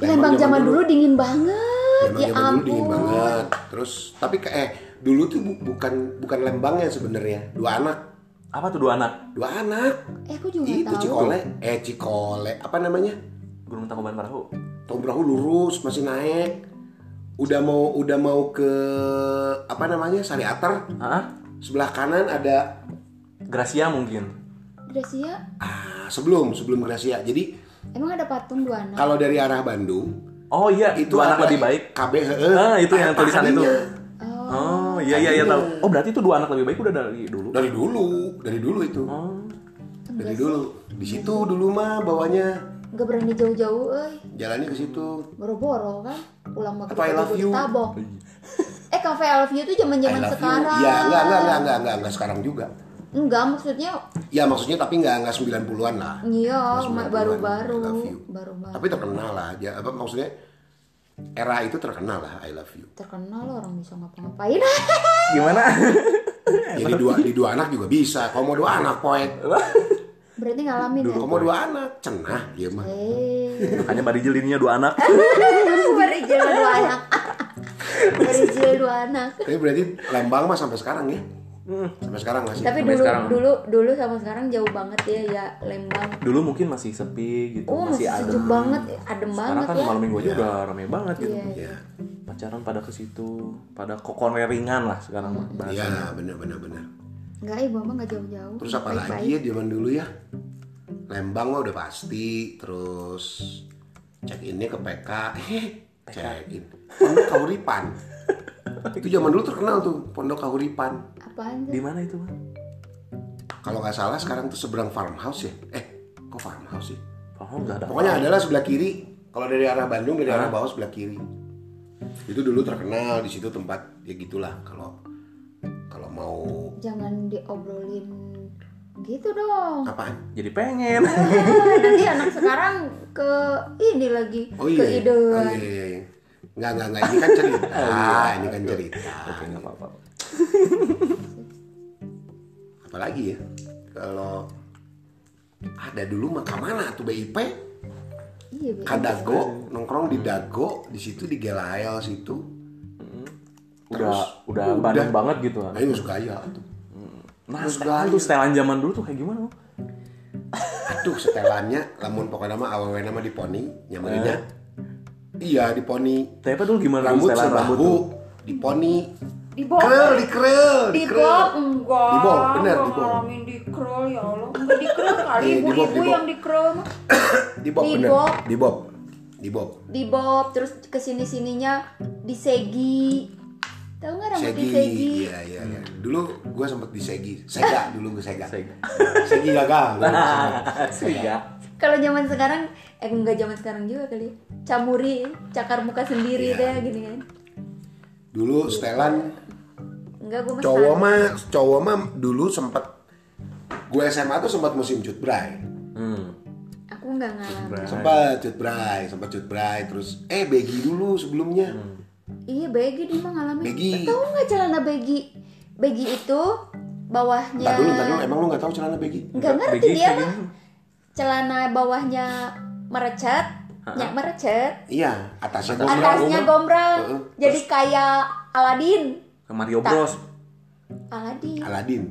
Speaker 3: Ih, Lembang zaman dulu dingin banget
Speaker 2: Lembang
Speaker 3: ya
Speaker 2: zaman dulu dingin
Speaker 3: ampun
Speaker 2: banget. Terus tapi ke eh dulu tuh bu- bukan bukan Lembangnya sebenarnya. Dua anak,
Speaker 1: Apa tuh dua anak?
Speaker 2: dua anak.
Speaker 3: eh aku juga
Speaker 2: Itu
Speaker 3: tahu
Speaker 2: Cikole, eh Cikole apa namanya?
Speaker 1: Gunung Tangkuban Perahu.
Speaker 2: Tombrahu lurus masih naik. Udah mau udah mau ke apa namanya? Sariater.
Speaker 1: Hah?
Speaker 2: Sebelah kanan ada
Speaker 1: Gracia mungkin.
Speaker 3: Gracia
Speaker 2: ah, sebelum sebelum Gracia. Jadi
Speaker 3: emang ada patung dua anak
Speaker 2: kalau dari arah Bandung
Speaker 1: Oh iya, itu
Speaker 2: itu
Speaker 1: dua anak
Speaker 2: ada
Speaker 1: lebih baik.
Speaker 2: KB heeh.
Speaker 1: Ah, itu yang
Speaker 2: Apa
Speaker 1: tulisan itu.
Speaker 2: hadinya?
Speaker 3: oh
Speaker 1: Oh, iya iya iya
Speaker 2: gitu.
Speaker 1: tahu. Oh, berarti itu dua anak lebih baik udah dari dulu.
Speaker 2: Dari dulu, dari dulu itu.
Speaker 1: Oh.
Speaker 2: Dari dulu. Di situ dulu mah bawanya
Speaker 3: nggak berani jauh-jauh eh
Speaker 2: jalannya ke situ.
Speaker 3: boro-boro kan pulang
Speaker 2: Apa I
Speaker 3: maghrib
Speaker 2: love
Speaker 3: udah
Speaker 2: you?
Speaker 3: ditabok eh cafe I love you tuh zaman zaman sekarang
Speaker 2: Iya, enggak, enggak, enggak, enggak, enggak, enggak sekarang juga.
Speaker 3: Enggak, maksudnya
Speaker 2: Ya maksudnya tapi enggak enggak 90-an lah.
Speaker 3: iya
Speaker 2: Masih
Speaker 3: ma-
Speaker 2: belum
Speaker 3: baru-baru
Speaker 2: I love you.
Speaker 3: baru-baru
Speaker 2: Tapi terkenal lah. Ya, apa maksudnya era itu terkenal lah I love you.
Speaker 3: terkenal loh orang bisa ngapa-ngapain
Speaker 1: Gimana? Iya,
Speaker 2: Jadi dua di dua anak juga bisa. Kalau mau dua anak poet.
Speaker 3: berarti ngalamin ya
Speaker 2: Kalau mau dua anak cenah dia mah.
Speaker 3: eh
Speaker 1: Makanya Badi Jelinnya dua anak.
Speaker 3: berijil dua anak berijil dua anak
Speaker 2: Tapi berarti Lembang mah sampai sekarang ya.
Speaker 1: Hmm.
Speaker 2: Sampai sekarang masih.
Speaker 3: tapi
Speaker 1: Sampai
Speaker 3: dulu
Speaker 1: sekarang.
Speaker 3: dulu dulu sama sekarang jauh banget ya ya Lembang
Speaker 1: Dulu mungkin masih sepi gitu,
Speaker 3: oh
Speaker 1: masih
Speaker 3: masih
Speaker 1: ada.
Speaker 3: sejuk banget adem
Speaker 1: Sekarang
Speaker 3: banget
Speaker 1: kan
Speaker 3: ya
Speaker 1: malam minggu aja udah rame banget gitu.
Speaker 3: Iya,
Speaker 2: Ya,
Speaker 1: Pacaran pada ke situ, pada kokoneringan lah sekarang mah
Speaker 2: ya
Speaker 1: bahasa.
Speaker 2: benar benar benar.
Speaker 3: Enggak, ibu mama nggak jauh-jauh.
Speaker 2: Terus apa
Speaker 3: Oh, Baik-baik.
Speaker 2: lagi ya zaman dulu ya? Lembang mah udah pasti. Terus check innya ke PK. check in. Pondok Kahuripan. itu zaman dulu terkenal tuh Pondok Kahuripan.
Speaker 3: Apaan sih?
Speaker 1: Di mana itu, Bang?
Speaker 2: Kalau nggak salah sekarang tuh seberang farmhouse ya. Eh, kok farmhouse sih?
Speaker 1: Oh, enggak ada.
Speaker 2: Pokoknya adalah sebelah kiri. Kalau dari arah Bandung dari arah bawah sebelah kiri. Itu dulu terkenal di situ tempat ya gitulah kalau kalau mau
Speaker 3: Jangan diobrolin gitu dong.
Speaker 2: apaan?
Speaker 1: Jadi pengen.
Speaker 3: Ah, Nanti anak sekarang ke ini lagi
Speaker 2: Oh
Speaker 3: ke
Speaker 2: iya. iya.
Speaker 3: ide.
Speaker 2: Oh iya iya. iya. Nggak, nggak, nggak. Ini kan cerita. ini kan cerita.
Speaker 1: Oke, enggak apa-apa.
Speaker 2: Apalagi ya? Kalau ada dulu mah kemana tuh BIP?
Speaker 3: Iya, Be.
Speaker 2: Kadago, nongkrong di Dago, di situ di Gelael situ.
Speaker 1: Udah
Speaker 2: Terus?
Speaker 1: udah
Speaker 2: Udah.
Speaker 1: Bandung banget gitu. Bang.
Speaker 2: Nah, itu suka ya tuh.
Speaker 1: Nah,
Speaker 2: Terus
Speaker 1: setelan
Speaker 2: gaya.
Speaker 1: tuh setelan zaman dulu tuh kayak gimana? Bang?
Speaker 2: Aduh, setelannya, lamun pokoknya mah awewe nama di poni, nyamannya. Iya, di poni.
Speaker 1: Tapi dulu gimana dulu
Speaker 2: Rambut
Speaker 1: setelan rambut
Speaker 2: sebahu,
Speaker 1: tuh?
Speaker 2: di poni.
Speaker 3: Di
Speaker 2: Krel, di krel, di
Speaker 3: di
Speaker 2: krel.
Speaker 3: bob enggak
Speaker 2: Di bob, bener,
Speaker 3: Enggak
Speaker 2: di bob.
Speaker 3: ngalamin di krol ya Allah Enggak di krol kali
Speaker 2: Iya, di bob,
Speaker 3: ibu-ibu
Speaker 2: di bob.
Speaker 3: yang di krol mah.
Speaker 2: Di bob,
Speaker 3: Di
Speaker 2: bener.
Speaker 3: bob.
Speaker 2: Di bob. Di bob.
Speaker 3: di bob terus kesini sininya di segi tahu nggak rambut di
Speaker 2: Segi,
Speaker 3: segi
Speaker 2: iya iya. iya. Dulu gue sempet di Segi, Sega dulu gue Sega.
Speaker 1: Sega.
Speaker 2: Segi gagal. gua Sega.
Speaker 1: Sega.
Speaker 3: kalau zaman sekarang eh enggak zaman sekarang juga kali ya. camuri cakar muka sendiri
Speaker 2: Iya.
Speaker 3: deh gini kan
Speaker 2: Dulu setelan
Speaker 3: enggak gue mesti
Speaker 2: cowok mah cowok mah dulu sempet gue SMA tuh sempat musim cutbray,
Speaker 1: Hmm.
Speaker 3: aku enggak ngalamin
Speaker 2: sempat cutbray, sempat cutbray terus eh begi dulu sebelumnya.
Speaker 3: iya begi dia mah ngalamin
Speaker 2: Begi.
Speaker 3: tahu nggak celana begi begi itu bawahnya
Speaker 2: Ntar dulu, ntar
Speaker 3: Ya.
Speaker 2: dulu, emang lu gak tahu celana begi?
Speaker 3: Nggak ngerti
Speaker 1: Begi
Speaker 3: dia
Speaker 1: kayak
Speaker 3: mah celana bawahnya merecet, ya merecet,
Speaker 2: Iya, atasnya gue
Speaker 3: atasnya gombrang,
Speaker 2: Heeh.
Speaker 3: jadi kayak Aladin,
Speaker 1: Ke Mario Bros.
Speaker 3: Aladin.
Speaker 2: Aladin,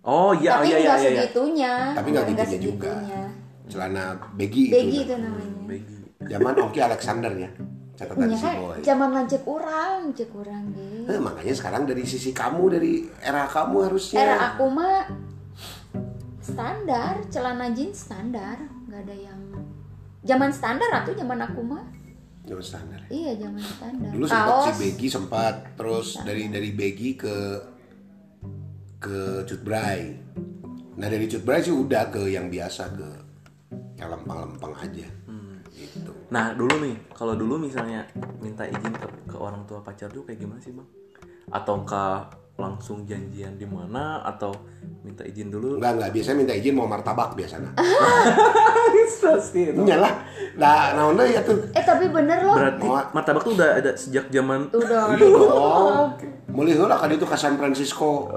Speaker 1: Oh
Speaker 2: Ya,
Speaker 1: iya
Speaker 3: Tapi
Speaker 1: iya iya
Speaker 3: nggak
Speaker 1: iya. iya.
Speaker 3: segitunya,
Speaker 2: tapi gak
Speaker 3: Nggak
Speaker 2: gitunya juga. Gitu
Speaker 3: segitunya.
Speaker 2: Celana begi,
Speaker 3: Begi
Speaker 2: itu.
Speaker 3: itu namanya.
Speaker 1: Begi.
Speaker 2: Zaman Oki Alexander ya, catatan
Speaker 3: Punya
Speaker 2: si
Speaker 3: kan
Speaker 2: boy.
Speaker 3: zaman lancip urang, cek urang gitu.
Speaker 2: Eh, makanya sekarang dari sisi kamu, dari era kamu harusnya.
Speaker 3: Era aku mah standar, celana jeans standar, nggak ada yang zaman standar atau zaman aku mah.
Speaker 2: Zaman standar. ya.
Speaker 3: Iya, zaman standar.
Speaker 2: Dulu sempat si Begi sempat, terus dari dari Begi ke ke Cutbray. Nah dari Cutbray sih udah ke yang biasa ke yang lempang-lempang aja. Gitu.
Speaker 1: Nah dulu nih, kalau dulu misalnya minta izin ke, ke orang tua pacar tuh kayak gimana sih bang? Ataukah langsung janjian di mana atau minta izin dulu?
Speaker 2: Enggak, enggak. Biasanya minta izin mau martabak biasanya.
Speaker 1: Pasti
Speaker 2: Iya lah. Nah, naonnya ya tuh.
Speaker 3: Eh tapi bener loh.
Speaker 1: Berarti martabak tuh udah ada sejak zaman
Speaker 3: Udah.
Speaker 2: Oh, mulai heula kan itu ke San Francisco.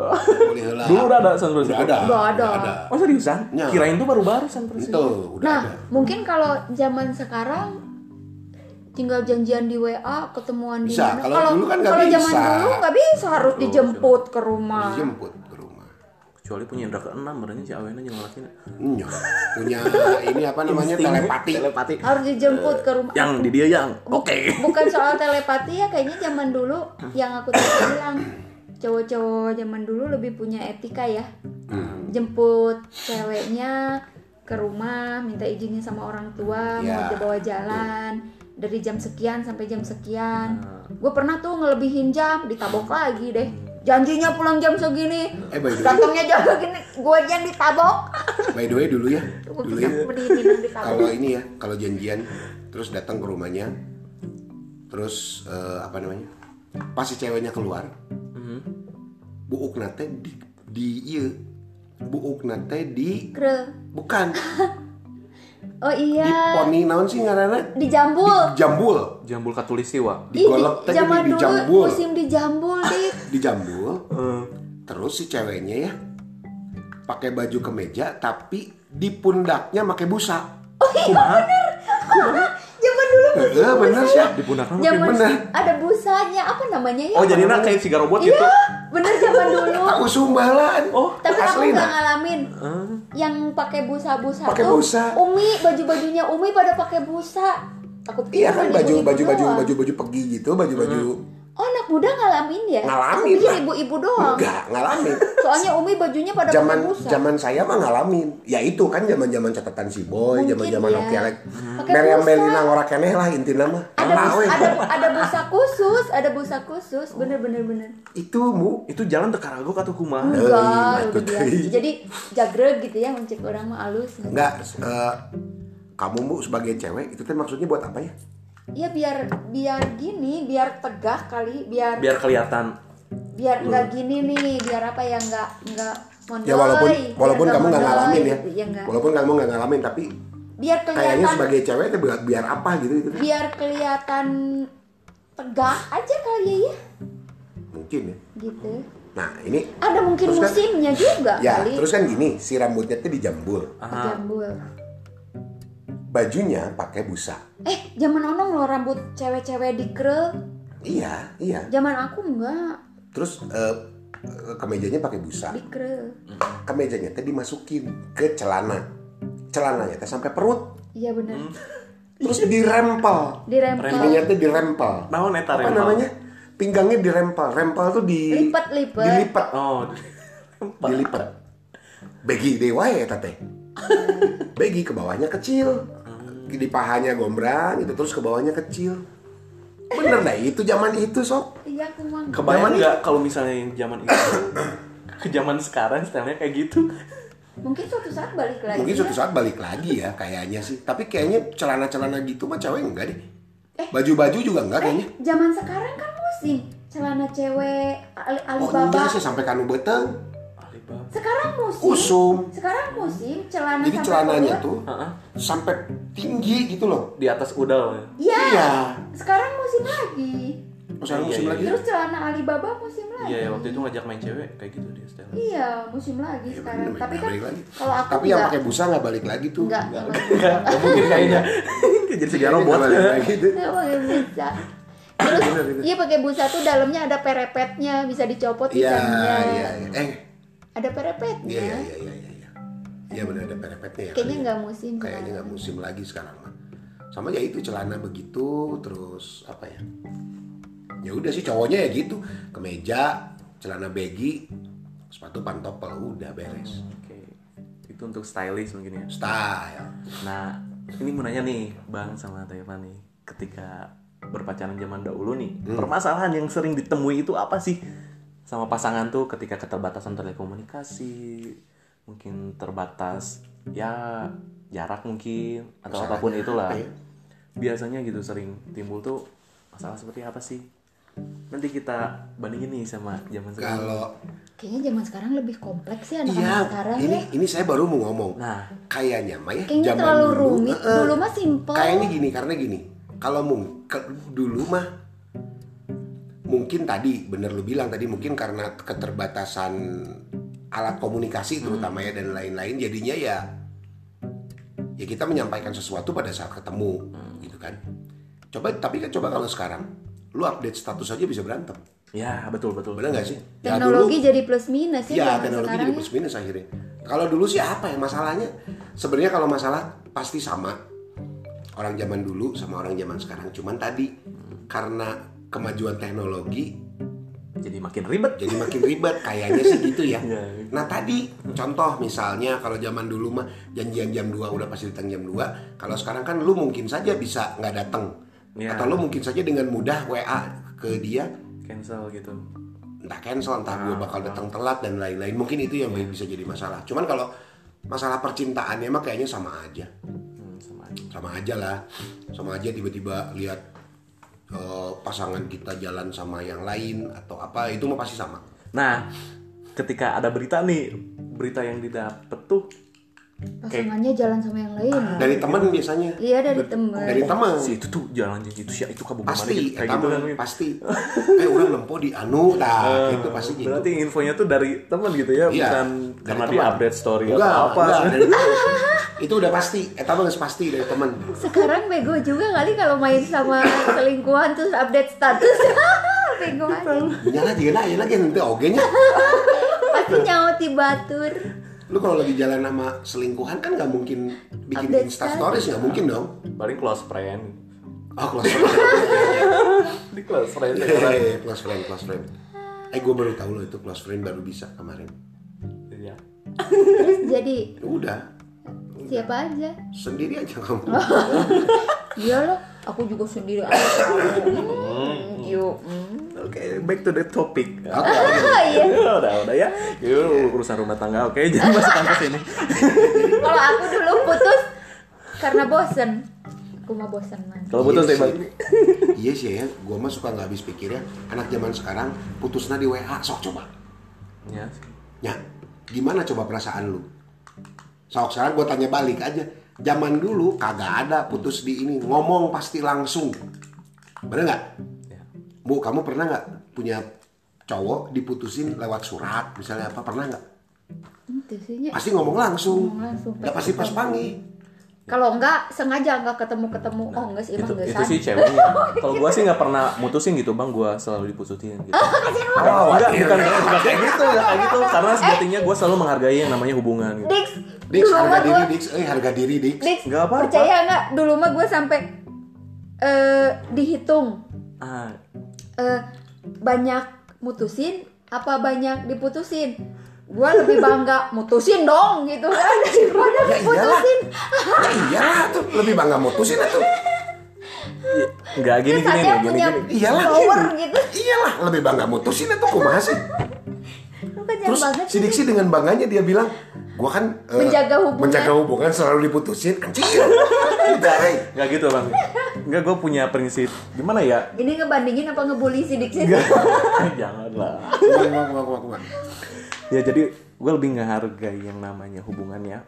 Speaker 2: Mulai heula.
Speaker 1: dulu udah ada San
Speaker 2: Udah
Speaker 1: Francisco.
Speaker 2: ada.
Speaker 3: Udah ada.
Speaker 1: Oh seriusan?
Speaker 2: Ya.
Speaker 1: Kirain tuh baru-baru San
Speaker 2: Itu
Speaker 1: Francisco.
Speaker 2: udah
Speaker 3: Nah,
Speaker 2: ada.
Speaker 3: mungkin kalau zaman sekarang tinggal janjian di WA, ketemuan di
Speaker 2: Bisa.
Speaker 3: mana.
Speaker 2: Kalau dulu kan nggak
Speaker 3: kalau zaman
Speaker 2: bisa.
Speaker 3: dulu nggak bisa harus dijemput ke rumah.
Speaker 2: Dijemput ke rumah.
Speaker 1: Kecuali punya indra keenam, berarti si awena yang laki
Speaker 2: Iya. Punya ini apa namanya
Speaker 1: Insting.
Speaker 2: telepati.
Speaker 1: Telepati.
Speaker 3: Harus dijemput ke rumah.
Speaker 1: Yang di dia yang oke.
Speaker 3: Bukan soal telepati ya, kayaknya zaman dulu yang aku tadi bilang cowok-cowok zaman dulu lebih punya etika ya.
Speaker 2: Hmm.
Speaker 3: Jemput ceweknya ke rumah, minta izinnya sama orang tua,
Speaker 2: Ya.
Speaker 3: mau dibawa jalan dari jam sekian sampai jam sekian.
Speaker 2: Hmm.
Speaker 3: Gue pernah tuh ngelebihin jam, ditabok lagi deh. Janjinya pulang jam segini,
Speaker 2: Eh, by the way.
Speaker 3: datangnya jam segini, gue yang ditabok.
Speaker 2: By the way dulu ya.
Speaker 3: Gue
Speaker 2: Dulu
Speaker 3: bisa
Speaker 2: ya.
Speaker 3: berdiri ditabok.
Speaker 2: kalau ini ya kalau janjian terus datang ke rumahnya terus eh, apa namanya pas si ceweknya keluar
Speaker 1: Hmm.
Speaker 2: buuk nate di di iya buuk nate di
Speaker 3: Kre.
Speaker 2: bukan
Speaker 3: Oh
Speaker 2: di
Speaker 3: iya,
Speaker 2: poni naon sih ngaranna
Speaker 3: dijambul.
Speaker 2: jambul
Speaker 1: Jambul katulistiwa.
Speaker 2: di golep teh jadi
Speaker 3: zaman
Speaker 2: di
Speaker 3: dulu
Speaker 2: jambul
Speaker 3: musim dijambul dik
Speaker 2: di jambul terus si ceweknya ya pakai baju kemeja tapi di pundaknya pakai busa
Speaker 1: Kumaha?
Speaker 3: zaman dulu
Speaker 2: eh bener sih ya.
Speaker 1: Di pundakna make
Speaker 3: zaman
Speaker 2: bener.
Speaker 3: ada busanya apa namanya ya
Speaker 1: Oh jadi nak kayak si garobot
Speaker 3: iya
Speaker 1: gitu.
Speaker 3: bener zaman dulu
Speaker 2: aku sumbalan
Speaker 1: Oh,
Speaker 3: tapi aku
Speaker 2: asli
Speaker 3: nggak
Speaker 2: nah.
Speaker 3: ngalamin yang pakai busa-busa
Speaker 2: Pakai
Speaker 3: tuh
Speaker 2: busa.
Speaker 3: umi baju-bajunya umi pada pakai busa aku pikir
Speaker 2: Iya kan
Speaker 3: cuma
Speaker 2: baju
Speaker 3: ibu-ibu
Speaker 2: baju baju
Speaker 3: doang.
Speaker 2: baju baju pergi gitu baju baju
Speaker 3: oh anak muda ngalamin ya
Speaker 2: Ngalamin
Speaker 3: aku pikir
Speaker 2: lah.
Speaker 3: ibu-ibu doang
Speaker 2: enggak ngalamin
Speaker 3: soalnya umi bajunya pada
Speaker 2: zaman
Speaker 3: pakai busa
Speaker 2: zaman saya mah ngalamin ya itu kan zaman zaman catatan si boy
Speaker 3: Mungkin
Speaker 2: zaman zaman
Speaker 3: ya.
Speaker 2: Nokia lagi
Speaker 3: Pakai
Speaker 2: Meriam
Speaker 3: busa.
Speaker 2: Belina ngorak keneh lah intinya mah
Speaker 3: ada
Speaker 2: Tahu
Speaker 3: busa,
Speaker 2: ya.
Speaker 3: ada ada busa khusus ada busa khusus bener bener bener
Speaker 2: itu mu
Speaker 1: Itu jalan ke Karagok atau kumaha?
Speaker 2: Eh,
Speaker 3: Enggak, lebih
Speaker 2: itu
Speaker 3: biasa.
Speaker 2: teh.
Speaker 3: Jadi jagreg gitu ya mencet orang mah alus.
Speaker 2: enggak eh, kamu mu sebagai cewek itu teh maksudnya buat apa ya
Speaker 3: Ya biar biar gini, biar tegah kali, biar
Speaker 1: Biar kelihatan.
Speaker 3: biar enggak gini nih, biar apa ya enggak enggak
Speaker 2: Hmm.
Speaker 3: mondoi.
Speaker 2: ya walaupun
Speaker 3: biar
Speaker 2: walaupun kamu nggak
Speaker 3: mondoi
Speaker 2: ngalamin ya
Speaker 3: gitu, ya enggak.
Speaker 2: walaupun kamu nggak ngalamin tapi
Speaker 3: Biar
Speaker 2: kayaknya
Speaker 3: kelihatan
Speaker 2: sebagai cewek teh biar, biar apa gitu itu teh.
Speaker 3: biar kelihatan tegah aja kali ya, ya
Speaker 2: mungkin ya
Speaker 3: gitu.
Speaker 2: nah ini
Speaker 3: Ada mungkin
Speaker 2: Terus kan-
Speaker 3: musimnya juga
Speaker 2: ya
Speaker 3: kali.
Speaker 2: terus kan gini si rambutnya tuh dijambul
Speaker 1: Aha.
Speaker 3: Jambul.
Speaker 2: bajunya pakai busa.
Speaker 3: Eh, zaman onong loh rambut cewek-cewek dikrel.
Speaker 2: Iya, iya.
Speaker 3: Zaman aku enggak
Speaker 2: Terus eh, eh, kemejanya pakai busa.
Speaker 3: dikrel.
Speaker 2: Kemejanya teh dimasukin ke celana. Celananya teh sampai perut.
Speaker 3: Iya benar.
Speaker 2: Terus dirempel.
Speaker 3: Dirempel.
Speaker 2: Ininya teh dirempel.
Speaker 1: Naon eta
Speaker 2: Apa
Speaker 1: rempel?
Speaker 2: namanya? Pinggangnya dirempel. Rempel tuh di
Speaker 3: Lipat-lipat.
Speaker 2: Dilipat.
Speaker 1: Oh.
Speaker 2: Dilipat. Begi dewa ya eta teh. Begi ke bawahnya kecil. Di pahanya gombrang itu terus ke bawahnya kecil. Bener dah itu zaman itu sob.
Speaker 3: Iya aku
Speaker 2: Zaman
Speaker 3: mah.
Speaker 1: Kebayang
Speaker 2: itu.
Speaker 1: nggak kalau misalnya yang zaman itu ke zaman sekarang stylenya kayak gitu?
Speaker 3: Mungkin suatu saat balik lagi.
Speaker 2: Mungkin suatu
Speaker 3: ya.
Speaker 2: saat balik lagi ya kayaknya sih. Tapi kayaknya celana-celana gitu mah cewek enggak deh. Baju-baju juga enggak kayaknya.
Speaker 3: Eh, Zaman sekarang kan musim celana cewek al-
Speaker 2: Oh
Speaker 3: Alibaba.
Speaker 2: enggak sih sampai kanu beteng.
Speaker 1: Alibaba.
Speaker 3: sekarang musim.
Speaker 2: Kusum.
Speaker 3: Sekarang musim celana
Speaker 2: Jadi
Speaker 3: sampai
Speaker 2: celananya
Speaker 3: perut.
Speaker 2: tuh
Speaker 1: Heeh.
Speaker 2: sampai tinggi gitu loh.
Speaker 1: Di atas udal ya.
Speaker 3: Iya.
Speaker 2: Iya.
Speaker 3: Sekarang musim lagi.
Speaker 2: Oh, sekarang
Speaker 1: Iya,
Speaker 2: musim
Speaker 1: iya,
Speaker 2: lagi.
Speaker 3: Terus celana Alibaba musim lagi.
Speaker 1: Iya, ya, waktu itu ngajak main cewek kayak gitu dia style.
Speaker 3: Iya, musim lagi sekarang.
Speaker 2: Eh, Bener,
Speaker 3: Tapi
Speaker 2: nggak
Speaker 3: kan
Speaker 2: balik lagi.
Speaker 3: kalau aku
Speaker 2: Tapi yang
Speaker 3: enggak,
Speaker 2: pakai busa nggak balik lagi tuh.
Speaker 3: enggak, enggak,
Speaker 1: Enggak, nggak
Speaker 2: Iya,
Speaker 1: mungkin kayaknya. gitu. Jadi
Speaker 2: Kayaknya
Speaker 1: segala robot.
Speaker 2: nggak balik lagi Iya, tuh.
Speaker 3: Nggak pakai busa. Terus iya pakai busa tuh dalamnya ada perepetnya, bisa dicopot
Speaker 2: Iya,
Speaker 3: ikannya.
Speaker 2: iya. iya. Eh,
Speaker 3: Ada perepetnya.
Speaker 2: iya iya iya iya iya. Iya benar ada perepetnya ya.
Speaker 3: Kayaknya
Speaker 2: kali ya.
Speaker 3: nggak musim.
Speaker 2: kayaknya nggak musim lagi sekarang mah sama ya itu celana begitu terus apa ya ya udah sih cowoknya ya gitu kemeja celana baggy sepatu pantopel udah beres
Speaker 1: Oke. Itu untuk stylish mungkin ya.
Speaker 3: Iya.
Speaker 2: style
Speaker 1: Nah, ini mau nanya nih, Bang sama Tevan nih, ketika berpacaran zaman dahulu nih,
Speaker 2: Hmm.
Speaker 1: permasalahan yang sering ditemui itu apa sih sama pasangan tuh ketika keterbatasan telekomunikasi, mungkin terbatas ya jarak mungkin atau apapun itulah.
Speaker 2: apa ya?
Speaker 1: biasanya gitu sering timbul tuh masalah seperti apa sih nanti kita bandingin nih sama zaman sekarang
Speaker 2: Kalau
Speaker 3: Kayaknya zaman sekarang lebih kompleks ya anak-anak
Speaker 2: iya,
Speaker 3: sekarang
Speaker 2: ini
Speaker 3: ya.
Speaker 2: ini saya baru mau ngomong.
Speaker 1: nah
Speaker 2: Kayaknya mah ya
Speaker 3: Kayaknya
Speaker 2: zaman
Speaker 3: terlalu
Speaker 2: dulu,
Speaker 3: rumit.
Speaker 2: eh, eh,
Speaker 3: Dulu mah simple.
Speaker 2: Kayaknya gini karena gini. Kalau mung ke- dulu mah mungkin tadi bener lu bilang tadi mungkin karena keterbatasan alat komunikasi terutama ya dan lain-lain jadinya ya ya kita menyampaikan sesuatu pada saat ketemu gitu kan. Coba tapi kan coba kalau sekarang lu update status aja bisa berantem.
Speaker 1: ya betul betul
Speaker 2: Bener gak sih? Ya, dulu-
Speaker 3: Teknologi jadi plus minus ya,
Speaker 2: Ya,
Speaker 3: zaman
Speaker 2: teknologi
Speaker 3: sekarang.
Speaker 2: jadi plus minus akhirnya. Kalau dulu sih apa ya masalahnya? Sebenarnya kalau masalah pasti sama. Orang zaman dulu sama orang zaman sekarang. Cuman tadi karena kemajuan teknologi
Speaker 1: jadi makin ribet
Speaker 2: jadi makin ribet kayaknya sih gitu ya.
Speaker 1: Iya.
Speaker 2: Nah tadi contoh misalnya kalau zaman dulu mah janjian jam 2 udah pasti datang jam 2 Kalau sekarang kan lu mungkin saja bisa nggak datang
Speaker 1: Iya.
Speaker 2: Atau lu mungkin saja dengan mudah WA ke dia
Speaker 1: cancel gitu
Speaker 2: entah cancel entah gue bakal datang telat dan lain-lain mungkin itu yang bisa jadi masalah cuman kalau masalah percintaannya mah kayaknya sama aja
Speaker 1: Hmm, sama aja.
Speaker 2: sama aja lah sama aja tiba-tiba lihat eh, pasangan kita jalan sama yang lain atau apa itu mah pasti sama
Speaker 1: nah ketika ada berita nih berita yang didapet tuh
Speaker 3: Pasangannya jalan sama yang lain.
Speaker 2: dari teman biasanya
Speaker 3: Iya dari
Speaker 2: Bet-
Speaker 3: temen.
Speaker 2: Ah, dari teman
Speaker 1: Oh, si itu tuh jalan gitu si itu kabur
Speaker 2: pasti
Speaker 1: kayak
Speaker 2: eta
Speaker 1: gitu
Speaker 2: mah,
Speaker 1: kan Win? Eh,
Speaker 2: pasti eh orang nempo di anu nah itu pasti gitu
Speaker 1: Berarti infonya tuh dari teman gitu ya,
Speaker 2: Iya,
Speaker 1: bukan
Speaker 2: dari
Speaker 1: karena
Speaker 2: teman.
Speaker 1: di update story
Speaker 2: Enggak,
Speaker 1: atau apa.
Speaker 2: enggak, dari teman. itu udah pasti eta mah geus pasti dari teman
Speaker 3: Sekarang bego juga kali kalau main sama selingkuhan terus update status. bego aja.
Speaker 2: nyala dia lah lagi nanti ogenya
Speaker 3: Pasti nyauti batur.
Speaker 2: lu kalau lagi jalan sama selingkuhan kan nggak mungkin bikin
Speaker 3: Update
Speaker 2: insta stories nggak mungkin dong
Speaker 1: Paling close friend.
Speaker 2: oh close friend
Speaker 1: Di close friend ya, orang.
Speaker 2: Eh, close friend close friend eh gue baru tahu lo itu close friend baru bisa kemarin Ya
Speaker 1: Iya.
Speaker 3: Terus jadi
Speaker 2: udah
Speaker 3: siapa aja?
Speaker 2: sendiri aja kamu
Speaker 3: Iya loh, aku juga sendiri aja. Hmm, Yuk. hmm.
Speaker 1: Oke, back to the topic.
Speaker 2: oke
Speaker 3: Oh iya.
Speaker 1: udah, udah ya. Yuk, urusan rumah tangga. Oke, jadi masuk kampus ini.
Speaker 3: Kalau aku dulu putus karena bosen. Aku mah bosen mas.
Speaker 1: Kalau putus
Speaker 2: Iya
Speaker 1: tembak.
Speaker 2: sih. iya sih ya gue mah suka nggak habis pikir ya anak zaman sekarang putusnya di wa sok coba
Speaker 1: Ya.
Speaker 2: ya gimana coba perasaan lu sok sekarang gue tanya balik aja zaman dulu kagak ada putus di ini ngomong pasti langsung bener nggak
Speaker 1: Ya.
Speaker 2: Bu, kamu pernah nggak punya cowok diputusin lewat surat misalnya apa pernah nggak?
Speaker 3: Itu sihnya.
Speaker 2: Pasti ngomong langsung.
Speaker 3: Ngomong langsung,
Speaker 2: Nggak pasti pas pangi.
Speaker 3: Kalau enggak sengaja enggak ketemu-ketemu. Oh, enggak sih
Speaker 1: itu,
Speaker 3: emang enggak
Speaker 1: itu
Speaker 3: sah.
Speaker 1: sih ceweknya. Kalau gua sih nggak pernah mutusin gitu, Bang. Gua selalu diputusin gitu.
Speaker 3: Oh,
Speaker 1: Enggak, enggak,
Speaker 3: iya,
Speaker 1: bukan, bukan kayak gitu, enggak kayak
Speaker 3: Eh,
Speaker 1: gitu. Karena sejatinya gua selalu menghargai yang namanya hubungan gitu.
Speaker 3: Dix,
Speaker 2: Dix,
Speaker 3: dulu
Speaker 2: harga
Speaker 3: mah
Speaker 2: diri,
Speaker 3: gue,
Speaker 2: Dix. Eh, harga diri, Dix.
Speaker 3: Dix,
Speaker 1: Nggak apa-apa.
Speaker 3: percaya enggak? Dulu mah gue sampai eh dihitung
Speaker 1: Ah,
Speaker 3: eh banyak mutusin apa banyak diputusin. Gue lebih bangga mutusin dong gitu kan daripada
Speaker 2: Ya iyalah.
Speaker 3: diputusin.
Speaker 2: Ya iyalah tuh, lebih bangga mutusin tuh.
Speaker 1: iya. enggak gini
Speaker 3: Terus
Speaker 1: gini
Speaker 3: ada
Speaker 1: nih,
Speaker 3: yang
Speaker 1: gini
Speaker 3: punya
Speaker 1: gini.
Speaker 2: Iyalah.
Speaker 3: power
Speaker 2: Cin.
Speaker 3: gitu.
Speaker 2: Iyalah, lebih bangga mutusin tuh kumaha sih?
Speaker 3: Lu kan jahat
Speaker 2: Terus
Speaker 3: banget
Speaker 2: si Diksi dengan bangganya dia bilang, gua kan eh,
Speaker 3: Menjaga hubungan.
Speaker 2: menjaga hubungan selalu diputusin. ya." Anjir. Dari.
Speaker 1: Enggak gitu, Bang. Enggak gua punya prinsip. Gimana ya?
Speaker 3: Ini ngebandingin apa ngebully si Diksi?
Speaker 1: Janganlah.
Speaker 2: Kumaha, kumaha, kumaha, kumaha.
Speaker 1: Ya jadi gue lebih ngehargai yang namanya hubungan ya.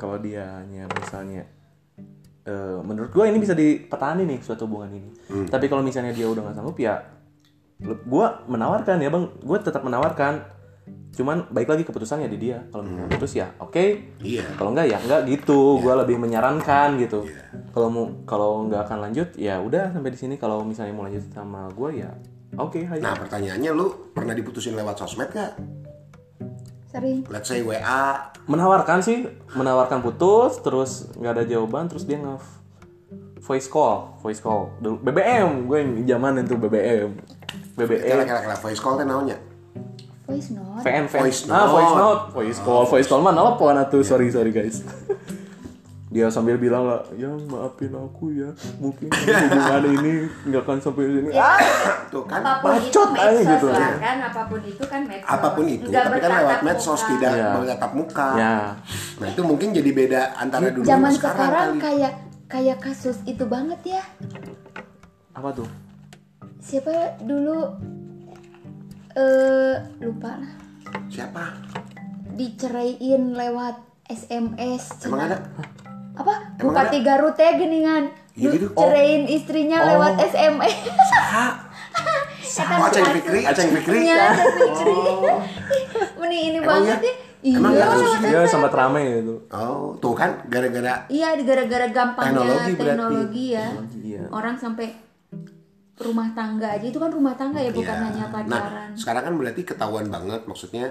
Speaker 1: Kalau dianya misalnya eh, menurut gue ini bisa dipetani nih suatu hubungan ini. Tapi kalau misalnya dia udah nggak sanggup ya gue menawarkan ya bang, gue tetap menawarkan. Cuman baik lagi keputusannya di dia. Kalau mau putus ya oke.
Speaker 2: Iya.
Speaker 1: Kalau enggak ya enggak gitu. Gue lebih menyarankan gitu. Kalau mau kalau nggak akan lanjut ya udah sampai di sini. Kalau misalnya mau lanjut sama gue ya oke ayo.
Speaker 2: Nah, pertanyaannya lu pernah diputusin lewat sosmed gak?
Speaker 3: Sering.
Speaker 2: Let's say WA,
Speaker 1: menawarkan sih menawarkan putus terus nggak ada jawaban terus dia nge voice call voice call dulu BBM gue yang zaman itu BBM
Speaker 2: Kela
Speaker 1: BBM
Speaker 2: kela kela voice call teh naonnya.
Speaker 3: Voice note.
Speaker 1: VN VN
Speaker 2: Voice
Speaker 1: ah
Speaker 2: note.
Speaker 1: voice note voice call voice call mah nelpon atuh sorry sorry guys dia sambil bilang lah yang maafin aku ya mungkin hubungan ini nggak akan sampai sini
Speaker 3: Iya.
Speaker 1: ah,
Speaker 2: Tuh kan.
Speaker 3: Ya, apapun itu
Speaker 1: Bacot aja
Speaker 3: medsos
Speaker 1: gitu.
Speaker 3: lah kan apapun itu kan medsos
Speaker 2: Apapun itu,
Speaker 3: Nggak
Speaker 2: tapi kan lewat
Speaker 3: bertatap
Speaker 2: medsos
Speaker 3: muka.
Speaker 2: tidak
Speaker 1: Iya.
Speaker 2: bertatap muka.
Speaker 1: ya
Speaker 2: Nah, itu mungkin jadi beda antara dulu
Speaker 3: zaman
Speaker 2: sama
Speaker 3: sekarang, kan-
Speaker 2: sekarang kali.
Speaker 3: kayak kayak kasus itu banget ya
Speaker 1: apa tuh
Speaker 3: siapa dulu eh lupa lah
Speaker 2: Siapa?
Speaker 3: diceraiin lewat SMS
Speaker 2: Emang ada?
Speaker 3: apa
Speaker 2: Emang
Speaker 3: bupati Garut ya geningan
Speaker 2: Iya
Speaker 3: Du-
Speaker 2: gitu.
Speaker 3: cerain istrinya
Speaker 1: Oh.
Speaker 3: lewat SMS
Speaker 2: Saha? Oh, Aceng Fikri, Aceng Fikri.
Speaker 3: Kan Iya, Aceng Fikri.
Speaker 2: Oh.
Speaker 3: Meni ini
Speaker 2: Emang
Speaker 3: banget
Speaker 2: ya?
Speaker 3: ya iya
Speaker 2: Emang nggak kasus
Speaker 1: dia sempat rame gitu. itu
Speaker 2: Oh, tuh kan gara-gara
Speaker 3: iya gara-gara gampangnya
Speaker 2: Teknologi
Speaker 3: teknologi,
Speaker 2: berarti.
Speaker 3: ya
Speaker 1: Iya.
Speaker 3: orang sampai rumah tangga aja itu kan rumah tangga ya bukan
Speaker 2: Ya.
Speaker 3: hanya pacaran
Speaker 2: Nah, sekarang kan berarti ketahuan banget maksudnya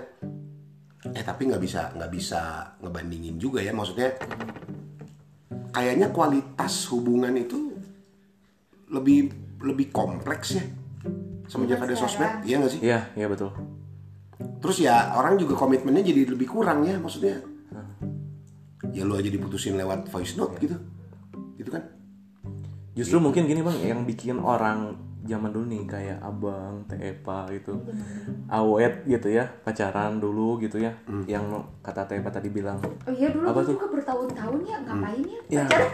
Speaker 2: eh tapi nggak bisa nggak bisa ngebandingin juga ya maksudnya kayaknya kualitas hubungan itu lebih lebih kompleks ya semenjak
Speaker 3: Zaman
Speaker 2: ada sosmed
Speaker 3: sekarang.
Speaker 2: iya nggak sih
Speaker 1: iya iya betul
Speaker 2: terus ya orang juga komitmennya jadi lebih kurang ya maksudnya ya lu aja diputusin lewat voice note gitu gitu kan
Speaker 1: Justru mungkin gini bang, yang bikin orang zaman dulu nih kayak abang, teh Epa gitu, awet gitu ya, pacaran dulu gitu ya, yang kata teh Epa tadi bilang.
Speaker 3: oh iya dulu
Speaker 1: Apa
Speaker 3: kan
Speaker 1: tuh?
Speaker 3: juga bertahun-tahun ya ngapain
Speaker 2: Iya.
Speaker 3: ya
Speaker 1: Ya.
Speaker 3: pacaran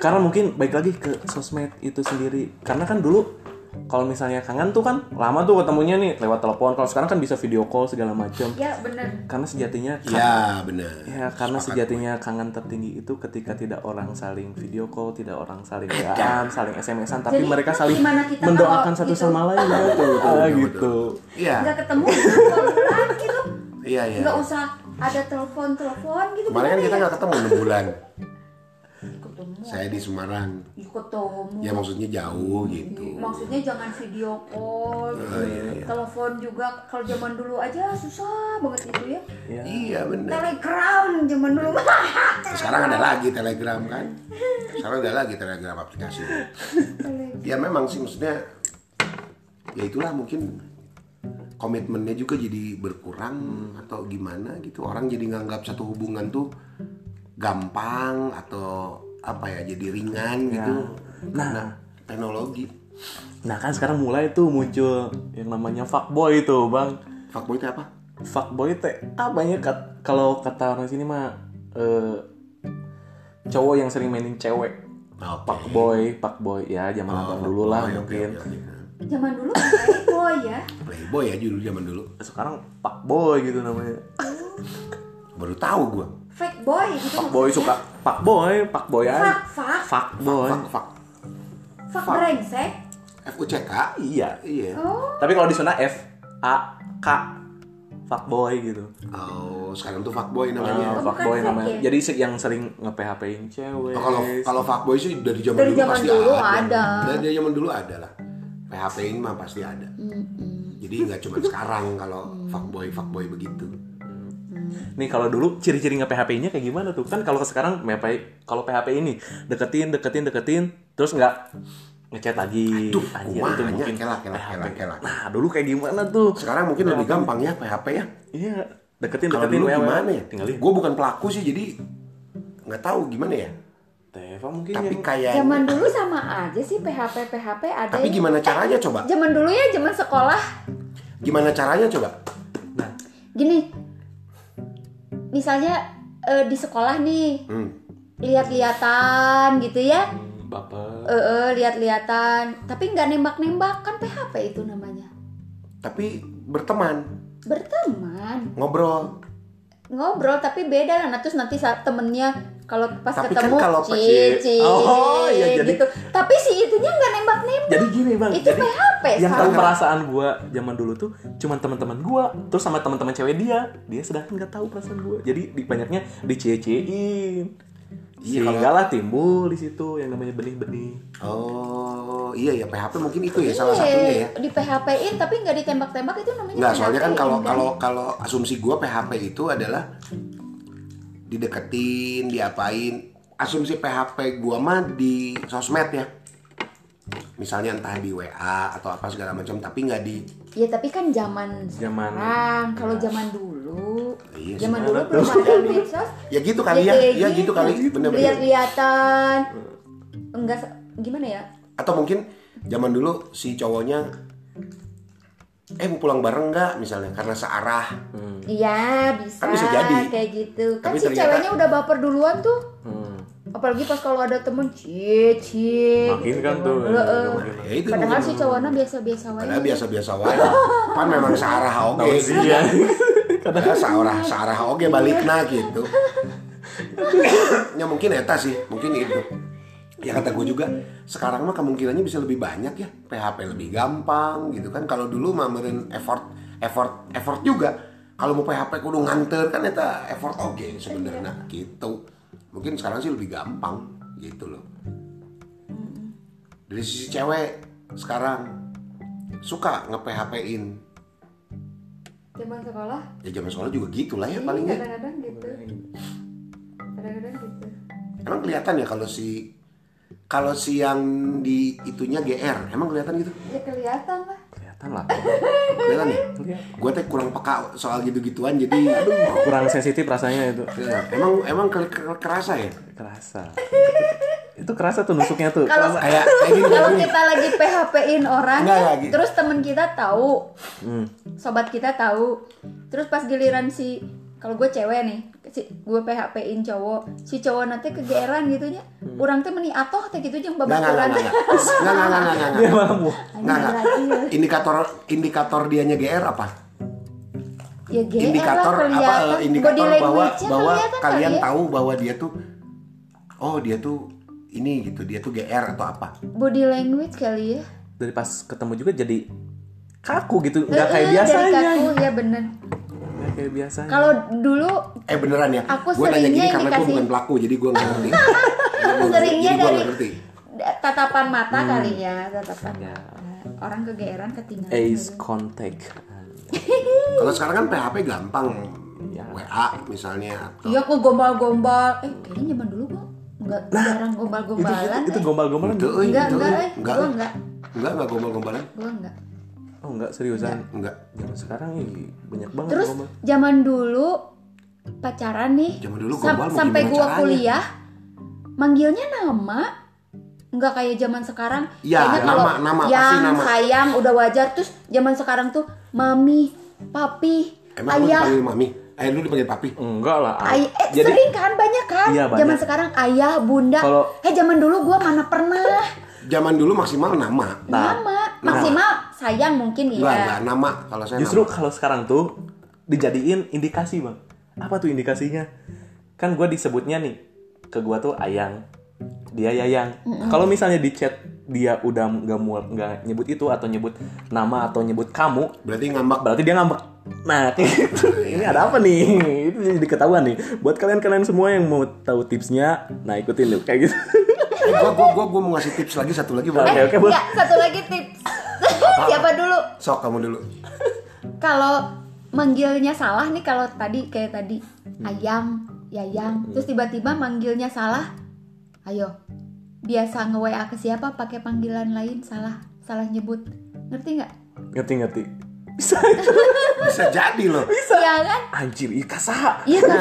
Speaker 1: Karena mungkin baik lagi ke sosmed itu sendiri, karena kan dulu kalau misalnya kangen tuh kan lama tuh ketemunya nih lewat telepon. Kalau sekarang kan bisa video call segala macam.
Speaker 3: ya bener
Speaker 1: Karena sejatinya
Speaker 2: ya bener
Speaker 1: Ya, karena sejatinya kangen tertinggi itu ketika
Speaker 2: Hmm.
Speaker 1: tidak orang saling video call, tidak orang saling WA-an, saling SMS-an, tapi
Speaker 3: Jadi,
Speaker 1: mereka
Speaker 3: kan
Speaker 1: saling
Speaker 3: gimana kita
Speaker 1: mendoakan
Speaker 3: kalau
Speaker 1: satu
Speaker 3: gitu?
Speaker 1: sama lain ya. Ah, gitu.
Speaker 2: iya
Speaker 3: nggak ketemu sebulan gitu
Speaker 2: iya iya
Speaker 3: nggak usah ada telepon telepon gitu
Speaker 2: kemarin kan
Speaker 3: bener
Speaker 2: kita
Speaker 3: ya?
Speaker 2: nggak ketemu enam bulan
Speaker 3: ketemu
Speaker 2: saya di Semarang
Speaker 3: Ya, ketemu
Speaker 2: ya maksudnya jauh gitu
Speaker 3: maksudnya jangan video
Speaker 2: Oh,
Speaker 3: call gitu.
Speaker 2: iya,
Speaker 3: telepon juga kalau zaman dulu aja susah banget itu ya
Speaker 1: Ya.
Speaker 2: iya bener
Speaker 3: telegram zaman dulu
Speaker 2: sekarang ada lagi telegram kan sekarang ada lagi telegram aplikasi ya memang sih maksudnya ya itulah mungkin komitmennya juga jadi berkurang atau gimana gitu orang jadi nganggap satu hubungan tuh gampang atau apa ya jadi ringan gitu
Speaker 1: Nah.
Speaker 2: karena teknologi
Speaker 1: Nah, kan sekarang mulai tuh muncul yang namanya fuckboy itu, Bang.
Speaker 2: fuckboy itu apa
Speaker 1: Fuckboy teh apanya kat- kalau kata orang sini mah eh, cowok yang sering mainin cewek.
Speaker 2: Oke.
Speaker 1: Fuckboy, fuckboy ya zaman abang dulu lah
Speaker 2: Oh, Oke, oke,
Speaker 1: mungkin.
Speaker 2: oke,
Speaker 3: zaman dulu playboy ya
Speaker 2: oke. playboy ya dulu zaman dulu
Speaker 1: Sekarang fuckboy gitu namanya.
Speaker 2: baru tahu gua
Speaker 3: fake boy gitu
Speaker 1: Fuckboy suka ya. fuckboy, fuckboyan.
Speaker 3: fak fak
Speaker 1: Fuckboy.
Speaker 2: fuck fuck
Speaker 3: fak brengsek
Speaker 2: F U C K
Speaker 1: Iya.
Speaker 2: iya
Speaker 3: oh
Speaker 1: Tapi kalau di sana F A K fuckboy gitu.
Speaker 2: oh sekarang tuh fuckboy namanya
Speaker 1: Ah,
Speaker 3: bukan
Speaker 1: fuckboy
Speaker 3: fuck
Speaker 1: namanya.
Speaker 3: ya?
Speaker 1: Jadi se- yang sering nge-PHP-in cewek.
Speaker 2: Oh, kalau kalau fuckboy sih dari zaman
Speaker 3: Dari
Speaker 2: dulu
Speaker 3: zaman
Speaker 2: pasti
Speaker 3: dulu
Speaker 2: ada.
Speaker 3: ada.
Speaker 2: Dari, dari zaman dulu ada lah. PHP-in mah pasti ada. Jadi nggak cuma sekarang kalau fuckboy fuckboy begitu.
Speaker 1: Nih kalau dulu ciri-ciri nggak PHP-nya kayak gimana tuh? Kan kalau sekarang PHP kalau PHP ini deketin, deketin, deketin, terus nggak ngechat lagi.
Speaker 2: Aduh,
Speaker 1: Anjir,
Speaker 2: kumaha
Speaker 1: itu
Speaker 2: nya,
Speaker 1: mungkin
Speaker 2: kelak, kelak,
Speaker 1: PHP.
Speaker 2: kelak, kelak.
Speaker 1: Nah, dulu kayak gimana tuh?
Speaker 2: Sekarang mungkin lebih gampang ya PHP ya.
Speaker 1: Iya, deketin,
Speaker 2: Kalau
Speaker 1: deketin,
Speaker 2: dulu
Speaker 1: wewe.
Speaker 3: E
Speaker 2: gimana ya?
Speaker 1: Tinggalin.
Speaker 2: Gue bukan pelaku sih jadi nggak tahu gimana ya.
Speaker 1: Teva mungkin
Speaker 2: Tapi
Speaker 1: yang-
Speaker 2: kayak
Speaker 3: Iya. zaman dulu sama aja sih PHP PHP ada
Speaker 2: tapi
Speaker 3: yang-
Speaker 2: gimana caranya coba?
Speaker 3: zaman dulu ya zaman sekolah
Speaker 2: Gimana caranya coba?
Speaker 1: Nah,
Speaker 3: gini misalnya eh, di sekolah nih
Speaker 2: Hmm.
Speaker 3: lihat-lihatan gitu ya
Speaker 1: baper.
Speaker 3: eh eh, lihat-lihatan tapi nggak nembak-nembak kan PHP itu namanya
Speaker 2: Tapi berteman,
Speaker 3: berteman
Speaker 2: ngobrol.
Speaker 3: ngobrol tapi beda lah nah, terus nanti saat temennya kalau pas
Speaker 2: Tapi kan
Speaker 3: ketemu
Speaker 2: kalau pe-
Speaker 3: "Ci, ci,"
Speaker 1: Oh, iya, jadi-
Speaker 3: gitu tapi si itunya nggak nembak-nembak
Speaker 1: Jadi gini bang,
Speaker 3: itu
Speaker 1: jadi
Speaker 3: PHP
Speaker 1: yang
Speaker 3: sama
Speaker 1: tahu perasaan gua zaman dulu tuh cuman teman-teman gua, terus sama teman-teman cewek dia, dia sedangkan nggak tahu perasaan gua. Jadi di banyaknya dicecein.
Speaker 2: Iya,
Speaker 1: Sehingga lah timbul di situ yang namanya benih-benih.
Speaker 2: Oh, iya ya PHP mungkin itu ya
Speaker 3: Iya,
Speaker 2: salah satunya ya.
Speaker 3: di PHP-in tapi nggak ditembak-tembak itu namanya
Speaker 2: Nggak, soalnya kan
Speaker 3: PHP-in,
Speaker 2: kalau
Speaker 3: kan?
Speaker 2: kalau kalau asumsi gua PHP itu adalah dideketin, diapain. Asumsi PHP gua mah di sosmed ya. Misalnya entah di WA atau apa segala macam, tapi nggak di
Speaker 3: ya tapi kan zaman
Speaker 1: Zaman-
Speaker 3: sekarang kalau zaman dulu
Speaker 2: Iya,
Speaker 3: zaman dulu
Speaker 1: sekarang
Speaker 3: belum ada medsos
Speaker 2: ya gitu kali ya,
Speaker 3: kayak
Speaker 2: ya gitu
Speaker 3: iya,
Speaker 2: kali, bener-bener.
Speaker 3: lihat-lihatan enggak se- gimana ya
Speaker 2: Atau mungkin zaman dulu si cowoknya eh mau pulang bareng nggak misalnya karena searah
Speaker 3: Iya bisa,
Speaker 2: Kan bisa jadi.
Speaker 3: kayak gitu. Kan
Speaker 2: Tapi
Speaker 3: si
Speaker 2: ternyata-
Speaker 3: ceweknya udah baper duluan tuh.
Speaker 1: Hmm.
Speaker 3: apalagi pas kalau ada temen cie cie
Speaker 1: Makin
Speaker 3: gitu
Speaker 1: kan tuh.
Speaker 3: Heeh.
Speaker 2: Ya itu
Speaker 3: padahal
Speaker 2: mungkin.
Speaker 3: si cowoknya biasa-biasa wae
Speaker 2: Padahal biasa-biasa wae. Pan memang searah oge.
Speaker 1: Tahu sih
Speaker 3: iya,
Speaker 1: ya.
Speaker 2: Padahal searah searah oge balikna gitu. ya mungkin eta sih, mungkin itu. Ya kata gue juga, sekarang mah kemungkinannya bisa lebih banyak ya. PHP lebih gampang gitu kan. Kalau dulu mah meureun effort effort effort juga. Kalau mau PHP kudu nganter kan eta effort oge sebenarnya gitu. Mungkin sekarang sih lebih gampang gitu loh. Dari sisi cewek sekarang suka nge-PHP-in.
Speaker 3: zaman sekolah
Speaker 2: Ya zaman sekolah juga gitu lah ya
Speaker 3: iya,
Speaker 2: palingnya.
Speaker 3: kadang-kadang gitu kadang-kadang gitu
Speaker 2: Emang kelihatan ya kalau si kalau si yang di itunya GR, emang kelihatan gitu?
Speaker 3: ya kelihatan lah
Speaker 1: Kelihatan lah.
Speaker 2: Kelihatan ya?
Speaker 1: Kelihatan.
Speaker 2: Gue teh kurang peka soal gitu-gituan jadi aduh.
Speaker 1: Kurang sensitif rasanya itu.
Speaker 2: Ya, Emang emang ke- ke- kerasa ya?
Speaker 1: Kerasa. Itu kerasa tuh nusuknya tuh.
Speaker 3: Kalau-
Speaker 1: Kerasa.
Speaker 2: Kayak kayak gini, kayak
Speaker 3: kalau
Speaker 2: gini.
Speaker 3: kita lagi PHP-in orang
Speaker 2: Enggak,
Speaker 3: ya,
Speaker 2: enggak, gitu.
Speaker 3: terus temen kita tahu
Speaker 1: Hmm.
Speaker 3: sobat kita tahu terus pas giliran si kalau gue cewek nih si gue PHP-in cowok si cowok nanti kegeeran gitu nya
Speaker 2: Hmm.
Speaker 3: urang teh meni atoh teh gitu jeung
Speaker 2: Nggak, nggak, nggak,
Speaker 3: babaturan
Speaker 2: nggak, nggak, nggak, nggak, nggak, nggak,
Speaker 1: Dia
Speaker 2: nggak.
Speaker 1: malah mu.
Speaker 2: Nggak, nggak.
Speaker 3: Anjing lagi ya.
Speaker 2: Indikator indikator dianya GR apa?
Speaker 3: ya GR
Speaker 2: Indikator
Speaker 3: lah
Speaker 2: apa?
Speaker 3: kelihatan
Speaker 2: eh, Indikator
Speaker 3: Body
Speaker 2: bahwa
Speaker 3: language-nya
Speaker 2: bahwa
Speaker 3: kelihatan kali
Speaker 2: kalian
Speaker 3: ya.
Speaker 2: tahu bahwa dia tuh oh dia tuh ini gitu, dia tuh GR atau apa?
Speaker 3: body language kali ya
Speaker 1: Dari pas ketemu juga jadi kaku gitu, nggak
Speaker 3: Eh,
Speaker 1: kayak
Speaker 3: eh,
Speaker 2: iya,
Speaker 3: dari
Speaker 1: biasanya.
Speaker 3: kaku ya bener
Speaker 1: Nggak kayak biasanya.
Speaker 3: kalau dulu
Speaker 2: Eh beneran ya?
Speaker 3: Aku
Speaker 2: Gua nanya
Speaker 3: seringnya
Speaker 2: gini
Speaker 3: yang
Speaker 2: karena gue
Speaker 3: dikasih-
Speaker 2: bukan pelaku jadi gue nggak ngerti.
Speaker 3: seringnya
Speaker 2: Jadi gua
Speaker 3: dari
Speaker 2: nggak ngerti.
Speaker 3: da- tatapan
Speaker 2: Hmm.
Speaker 3: mata kali ya tatapan mata orang kegeeran ketinggalan
Speaker 1: Ace contact.
Speaker 2: Kalau sekarang kan PHP gampang, WA misalnya. atau-
Speaker 3: Iya kok gombal-gombal. Eh kayaknya zaman dulu gua nggak jarang
Speaker 1: Itu gitu,
Speaker 3: gombal-gombalan.
Speaker 1: itu
Speaker 3: eh.
Speaker 1: gombal-gombalan.
Speaker 2: Nah, Itu, eh,
Speaker 3: Enggak,
Speaker 2: itu,
Speaker 3: enggak,
Speaker 2: eh.
Speaker 3: eh.
Speaker 2: enggak,
Speaker 3: Gua
Speaker 2: eh.
Speaker 3: enggak.
Speaker 2: enggak, enggak gombal-gombalan,
Speaker 3: Gua enggak.
Speaker 1: Oh enggak seriusan.
Speaker 2: enggak.
Speaker 1: Zaman sekarang ih, banyak banget
Speaker 3: Terus
Speaker 1: gombal.
Speaker 3: zaman dulu pacaran nih.
Speaker 2: Zaman dulu
Speaker 3: sam-
Speaker 2: gombal mau
Speaker 3: sampai
Speaker 2: gimana
Speaker 3: gua
Speaker 2: caranya?
Speaker 3: kuliah manggilnya nama nggak kayak zaman sekarang.
Speaker 2: Iya,
Speaker 3: Kayaknya
Speaker 2: nama-
Speaker 3: kalau
Speaker 2: nama, pasti
Speaker 3: yang
Speaker 2: nama.
Speaker 3: sayang udah wajar terus zaman sekarang tuh mami, papi,
Speaker 2: Emang lu
Speaker 3: ayah,
Speaker 2: dipanggil mami? Eh lu dipanggil papi?
Speaker 1: Enggak lah. ah.
Speaker 3: Ay- eh,
Speaker 1: jadi
Speaker 3: sering kan banyak kan?
Speaker 1: Iya,
Speaker 3: Zaman
Speaker 1: banyak.
Speaker 3: sekarang ayah, bunda.
Speaker 1: Kalau-
Speaker 3: eh zaman dulu gua mana pernah
Speaker 2: Zaman dulu maksimal nama.
Speaker 1: Nah,
Speaker 3: nama. Maksimal sayang mungkin
Speaker 2: Enggak,
Speaker 3: ya.
Speaker 2: enggak nama kalau saya
Speaker 1: Justru
Speaker 2: nama.
Speaker 1: kalau sekarang tuh dijadiin indikasi bang. Apa tuh indikasinya? Kan gue disebutnya nih ke gue tuh ayang, dia yayang. Kalau misalnya di chat dia udah nggak mau nggak nyebut itu atau nyebut nama atau nyebut kamu,
Speaker 2: berarti ngambak
Speaker 1: berarti dia ngambek. Nah, kayak gitu. ini ada apa nih? Itu jadi ketahuan nih. Buat kalian-kalian semua yang mau tahu tipsnya, nah ikutin dulu kayak gitu.
Speaker 2: Eh, gua, gua, gua, gua mau ngasih tips lagi satu lagi boleh?
Speaker 1: Oke, oke, boleh.
Speaker 3: Eh, Enggak, satu lagi tips. Siapa dulu?
Speaker 2: Sok kamu dulu.
Speaker 3: Kalau manggilnya salah nih kalau tadi kayak tadi ayang, yayang. Terus tiba-tiba manggilnya salah. Ayo. Biasa nge-WA ke siapa pakai panggilan lain salah, salah nyebut. Ngerti nggak?
Speaker 1: Ngerti ngerti. Bisa.
Speaker 2: Bisa jadi loh.
Speaker 3: Iya kan?
Speaker 1: Anjir, iya kasaha.
Speaker 3: Iya kan?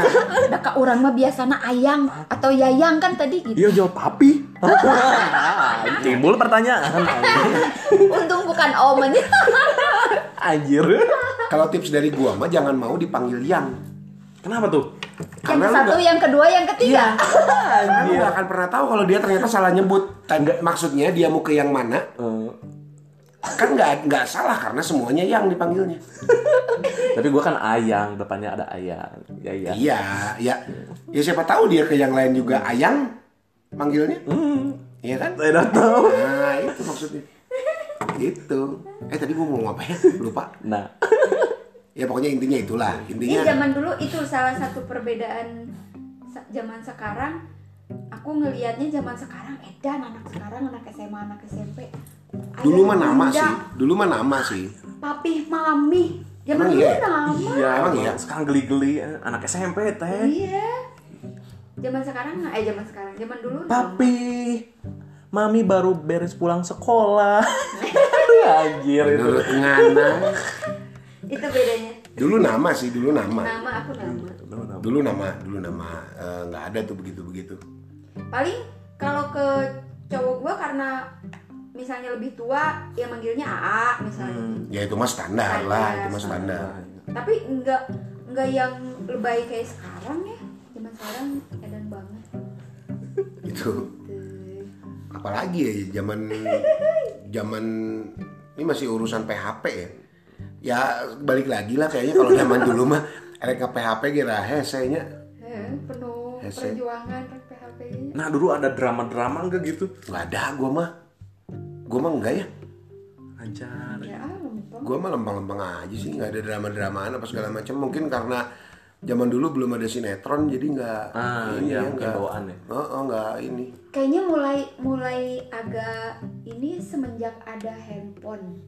Speaker 3: Nah, ka urang mah biasana ayang atau yayang kan tadi gitu.
Speaker 1: Iya jawab papi. Timbul pertanyaan.
Speaker 3: Untung bukan omen.
Speaker 1: Anjir.
Speaker 2: Kalau tips dari gua mah jangan mau dipanggil yang.
Speaker 1: Kenapa tuh?
Speaker 3: yang
Speaker 2: Karena lu
Speaker 3: satu, yang kedua, yang ketiga.
Speaker 1: Iya.
Speaker 2: Karena lu gak akan pernah tahu kalau dia ternyata salah nyebut. Tanda, maksudnya dia mau ke yang mana?
Speaker 1: Eh,
Speaker 2: Kan nggak nggak salah karena semuanya yang dipanggilnya.
Speaker 1: tapi gua kan ayang, depannya ada ayang. Ya iya.
Speaker 2: Iya, ya. Ya siapa tahu dia ke yang lain juga ayang manggilnya. Iya kan?
Speaker 1: Saya udah tahu.
Speaker 2: Nah, itu maksudnya. Itu. Eh tadi gua mau ngomong apa ya? Lupa.
Speaker 1: Nah,
Speaker 2: Ya pokoknya intinya itulah.
Speaker 3: Ini
Speaker 2: Intinya
Speaker 3: zaman dulu itu salah satu perbedaan sa- zaman sekarang. Aku ngelihatnya zaman sekarang edan anak sekarang anak SMA anak SMP. Ayah,
Speaker 2: dulu mah nama
Speaker 3: bunda,
Speaker 2: sih. Dulu mah nama sih.
Speaker 3: Papih, mami. Zaman
Speaker 2: Emang
Speaker 3: dulu
Speaker 2: iya?
Speaker 3: nama.
Speaker 1: iya.
Speaker 2: Emang iya?
Speaker 1: Sekarang geli-geli eh, anak SMP teh.
Speaker 3: Iya. Zaman sekarang nggak? eh zaman sekarang zaman dulu nama.
Speaker 1: Papi. Mami baru beres pulang sekolah. Aduh anjir itu.
Speaker 2: Menurut Ngana,
Speaker 3: Itu bedanya.
Speaker 2: dulu nama sih, dulu nama.
Speaker 3: Nama aku nama.
Speaker 2: Dulu nama, dulu nama Eh, nggak ada tuh begitu-begitu.
Speaker 3: Paling kalau ke cowok gua karena misalnya lebih tua ya manggilnya AA misalnya.
Speaker 2: Ya itu mah standar lah, itu mah standar.
Speaker 3: tapi nggak nggak yang lebay kayak sekarang ya zaman sekarang edan banget
Speaker 2: itu apalagi ya zaman zaman ini masih urusan PHP ya ya balik lagi lah kayaknya kalau zaman dulu mah RK PHP kira hesenya
Speaker 3: Eh, penuh
Speaker 2: Hese.
Speaker 3: perjuangan rek PHP ini.
Speaker 1: Nah dulu ada drama-drama nggak gitu?
Speaker 2: nggak ada gua mah gua mah enggak ya
Speaker 1: Anjar.
Speaker 3: Ya ah, nonton.
Speaker 2: gua mah lempeng-lempeng aja sih nggak ada drama-dramaan apa segala macam mungkin karena zaman dulu belum ada sinetron jadi nggak
Speaker 1: Ah, iya, mungkin
Speaker 2: nggak-
Speaker 1: bawaan ya.
Speaker 2: Oh, oh, nggak ini
Speaker 3: Kayaknya mulai mulai agak ini semenjak ada handphone.